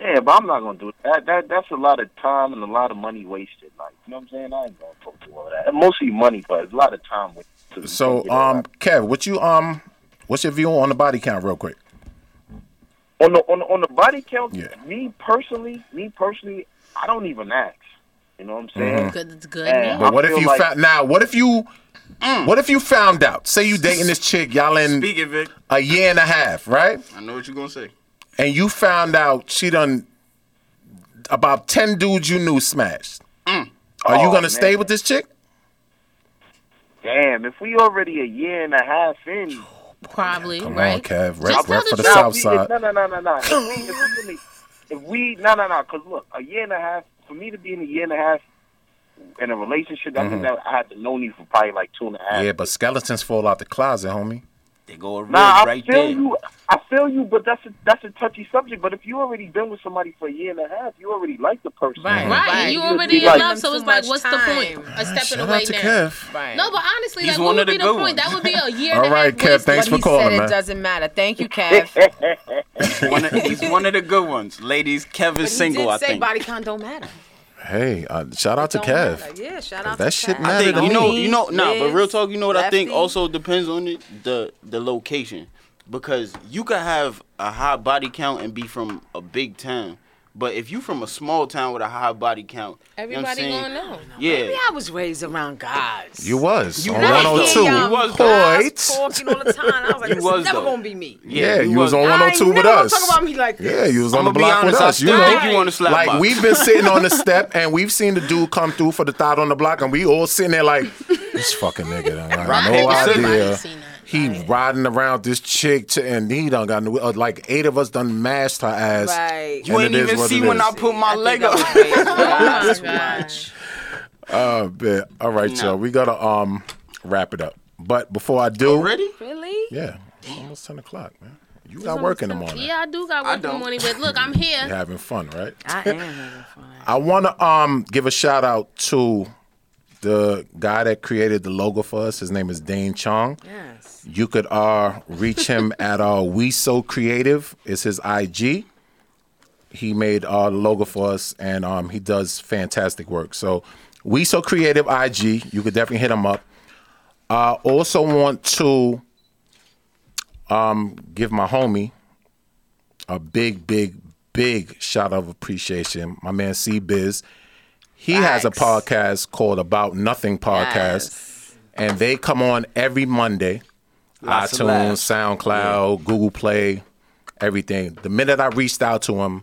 J: Yeah, but I'm not gonna do that. that. That's a lot of time and a lot of money wasted. Like, you know what I'm saying? I ain't gonna go through all that. And mostly money, but it's a lot of time wasted. too. You can't
D: So,
J: get all
D: um, Kev, what you um, what's your view on the body count, real quick?
J: that. on the on the, on the body count,
D: Yeah.
J: me personally, me personally, I don't even ask. You know what I'm saying?
C: Good, it's good.
J: Yeah.
D: Mm-hmm.
C: man.
D: But
J: I
D: what if
J: feel
D: you
J: like-
D: found now? What if you, what if you found out? Say you dating this chick, y'all in
A: Speak it, Vic.
D: a year and a half, right?
A: I know what you're gonna say.
D: And you found out she done about ten dudes you knew smashed. Are you
J: Oh,
D: gonna
J: man.
D: stay with this chick?
J: Damn, if we already a year and a half in,
C: Probably,
D: Come
C: right?
D: on, Kev.
C: Just
D: Rep,
C: tell
D: rep
C: the
D: for the
J: Nah,
C: truth.
D: South
J: if we-
D: Side.
J: No, no, no, no, no. If we, if we, really- if we- no, no, no. Because look, a year and a half for me to be in a year and a half in a relationship, I think that I had to know you for probably like two and a half.
D: Mm-hmm. Yeah, but skeletons fall out the closet, homie.
A: They go red
J: Nah, I
A: right
J: feel
A: there.
J: you. I feel you, but that's a, that's a touchy subject. But if you already been with somebody for a year and a half, you already like the person.
C: Right, right. You
J: Right.
C: already in
J: Right.
C: love, so
F: Too
C: it's like,
F: much
C: what's the
F: time.
C: point? A stepping
D: Shout
C: away
D: out to
C: now.
D: Kev.
F: Right.
C: No, but honestly,
A: He's
C: like, what
A: one
C: would
A: of the
C: be the
A: good
C: point? That
A: ones.
C: would be a year.
D: All
C: and a
D: right,
C: half
D: Kev,
C: wasted.
D: thanks
F: What
D: for
F: he
D: calling,
F: said,
D: man.
F: it doesn't matter. Thank you, Kev.
A: (laughs) One of- he's one of the good ones, ladies. Kevin's
F: he
A: single,
F: did
A: I
F: say
A: think.
F: body count don't matter.
D: Hey, uh, shout out to
F: Don't
D: Kev.
F: matter. Yeah, shout out
D: That
F: to
D: shit
F: Kev.
D: matter.
A: I think
D: Not
A: you
D: at
A: know,
D: all.
A: you know, nah. But
F: Liz,
A: real talk, you know what I think
F: Lefty.
A: also depends on it, the the location, because you could have a high body count and be from a big town, but if you from a small town with a high body count,
C: Everybody
A: you know what
C: going
A: I'm saying?
C: know.
A: Yeah,
F: Maybe I was raised around guys.
D: You was
A: You
D: on
A: was, though.
D: 102.
A: You was, though.
F: Guys
D: Point.
F: talking all the time. I was like,
A: You
F: this
A: was,
F: is never
A: though.
F: gonna be me.
D: Yeah, you was on
F: I
D: 102
F: ain't
D: with
F: never
D: us.
F: Talk about me like this.
D: Yeah, you was on
A: I'ma
D: the
A: be
D: block
A: honest,
D: with
A: I
D: us. You
A: still
D: know,
A: think you on the slap
D: like
A: box.
D: we've been sitting on
A: (laughs)
D: the step and we've seen the dude come through for the thought on the block, and we all sitting there
F: (laughs)
D: like, this fucking nigga, done got
A: Rock,
D: no
A: paper, scissors.
D: idea.
C: Everybody's seen that,
D: He riding around this chick, to, and he done got uh, like eight of us done mashed her ass.
F: Right.
D: And
A: you ain't
D: it is
A: even
D: what
A: see
D: it
A: when
D: is.
A: I put my leg
F: I
A: up.
F: was raised around
A: (laughs)
F: guys.
D: Oh, man. All right, y'all. We gotta um wrap it up. But before I do,
A: Ready?
F: Really?
D: yeah, almost ten o'clock, man. You got work in the morning.
C: Yeah, I do got work in the
A: don't.
C: morning, but look, I'm here.
D: You're having fun, right? (laughs)
F: I am having fun.
D: I want to um give a shout out to the guy that created the logo for us. His name is Dane Chong.
F: Yes.
D: You could uh reach him at uh We So Creative. It's his IG. He made uh the logo for us, and um he does fantastic work. So We So Creative IG. You could definitely hit him up. I also want to um give my homie a big, big, big shout of appreciation. My man C Biz. He has a
F: Facts.
D: podcast called About Nothing Podcast. And they come on every Monday.
A: Lots of laughs.
D: iTunes, SoundCloud, Google Play, everything. The minute I reached out to him,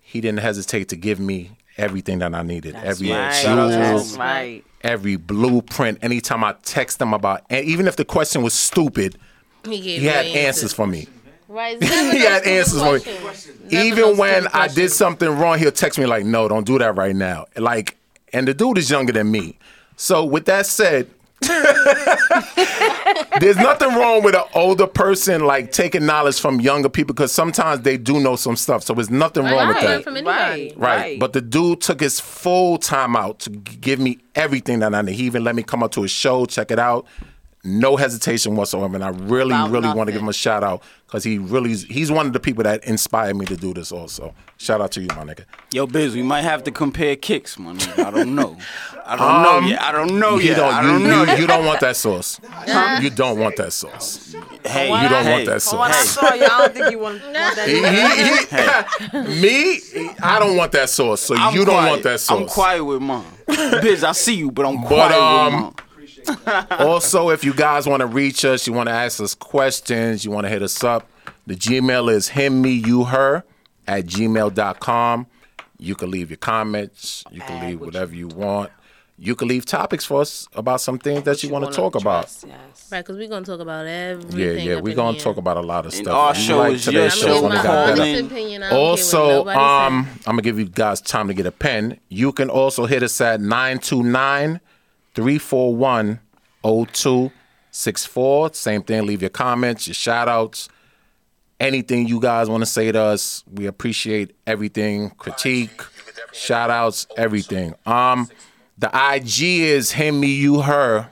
D: he didn't hesitate to give me everything that I needed. every
A: right.
D: excuse,
A: Shout out to
F: That's
A: Yes.
F: right.
D: every blueprint. Anytime I text him about and even if the question was stupid,
C: He, gave
D: he
C: me
D: had
C: the
D: answers for me.
C: (laughs) Right.
D: (laughs) He had answers for me. Even when I did
C: something.
D: something wrong, he'll text me like, "No, don't do that right now." Like, and the dude is younger than me. So with that said, (laughs) there's nothing wrong with an older person like taking knowledge from younger people because sometimes they do know some stuff. So there's nothing
C: Right,
D: wrong
C: I
D: with
C: learn
D: that.
C: from anybody.
D: Right. But the dude took his full time out to g- give me everything that I need. He even let me come up to his show, check it out. No hesitation whatsoever. And I really,
F: About
D: really want to
F: nothing.
D: give him a shout out because he really, is- he's one of the people that inspired me to do this also. Shout out to you, my nigga.
A: Yo, Biz, we might have to compare kicks, man. I don't know. I don't know yet. I don't know
D: Um, you
A: yet. I
D: you,
A: don't know.
D: You, you don't want that sauce. you don't want that sauce.
A: Hey,
D: you don't
A: hey,
D: want that
F: When I
D: sauce.
F: saw you, I don't think you want, want that.
D: He- he- he- (laughs) me, I don't want that sauce. So
A: I'm
D: you don't
A: quiet.
D: want that sauce.
A: I'm quiet with mom. Biz, I see you, but I'm
D: But
A: quiet
D: um,
A: with mom.
D: also, if you guys want to reach us, you want to ask us questions, you want to hit us up, the Gmail is him, me, you, her at gmail.com. You can leave your comments, you can leave whatever you want. You can leave topics for us about some things that you, want to talk about.
F: Yes.
C: Right, because we're going to talk about
D: Yeah,
C: everything.
D: yeah,
C: up
D: we're
C: in
D: gonna
C: here.
D: talk about a lot of stuff.
A: our
D: You
A: show is
D: today's
A: your
C: I'm
A: show,
C: going
D: when
C: to
D: we
C: give
A: I'm
C: my
D: got that
A: calling
D: up.
C: honest
A: in.
C: opinion. I don't care
D: Also,
C: what nobody
D: um, I'm gonna give you guys time to get a pen. You can also hit us at 929-341-0264. Same thing, leave your comments, your shout outs, anything you guys want to say to us. We appreciate everything, critique, shout outs, everything. Um the IG is him, me, you, her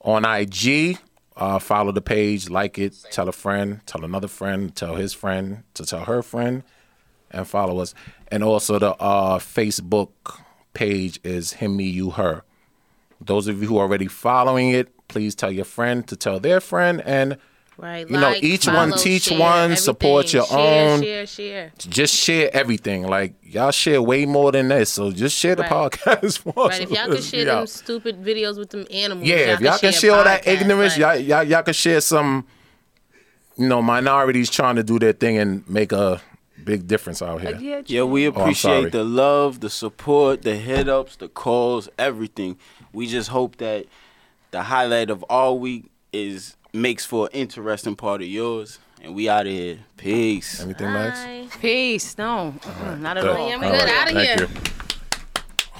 D: on IG. Uh, follow the page, like it, tell a friend, tell another friend, tell his friend, to tell her friend, and follow us. And also the uh, Facebook page is him, me, you, her. Those of you who are already following it, please tell your friend to tell their friend. And
C: Right,
D: you know,
C: like,
D: each one
C: follow,
D: teach
C: share,
D: one, support
C: everything.
D: your
C: Share,
D: own.
C: Share, share.
D: just share everything. Like, y'all share way more than this. So just share the
C: Right.
D: podcast. (laughs) for us.
C: Right, if y'all could share
D: Yeah.
C: them stupid videos with them animals.
D: Yeah, if y'all can share all that ignorance, y'all, y'all y'all can share some, you know, minorities trying to do their thing and make a big difference out here.
F: Yeah,
A: Yeah, we
D: Oh, I'm sorry.
A: appreciate the love, the support, the hit ups, the calls, everything. We just hope that the highlight of all week is makes for an interesting part of yours. And we out of here. Peace.
D: Anything, Max?
C: Bye.
B: Peace. No, mm-mm, not at all.
C: I'm good. Outta
D: Thank
C: here.
D: you.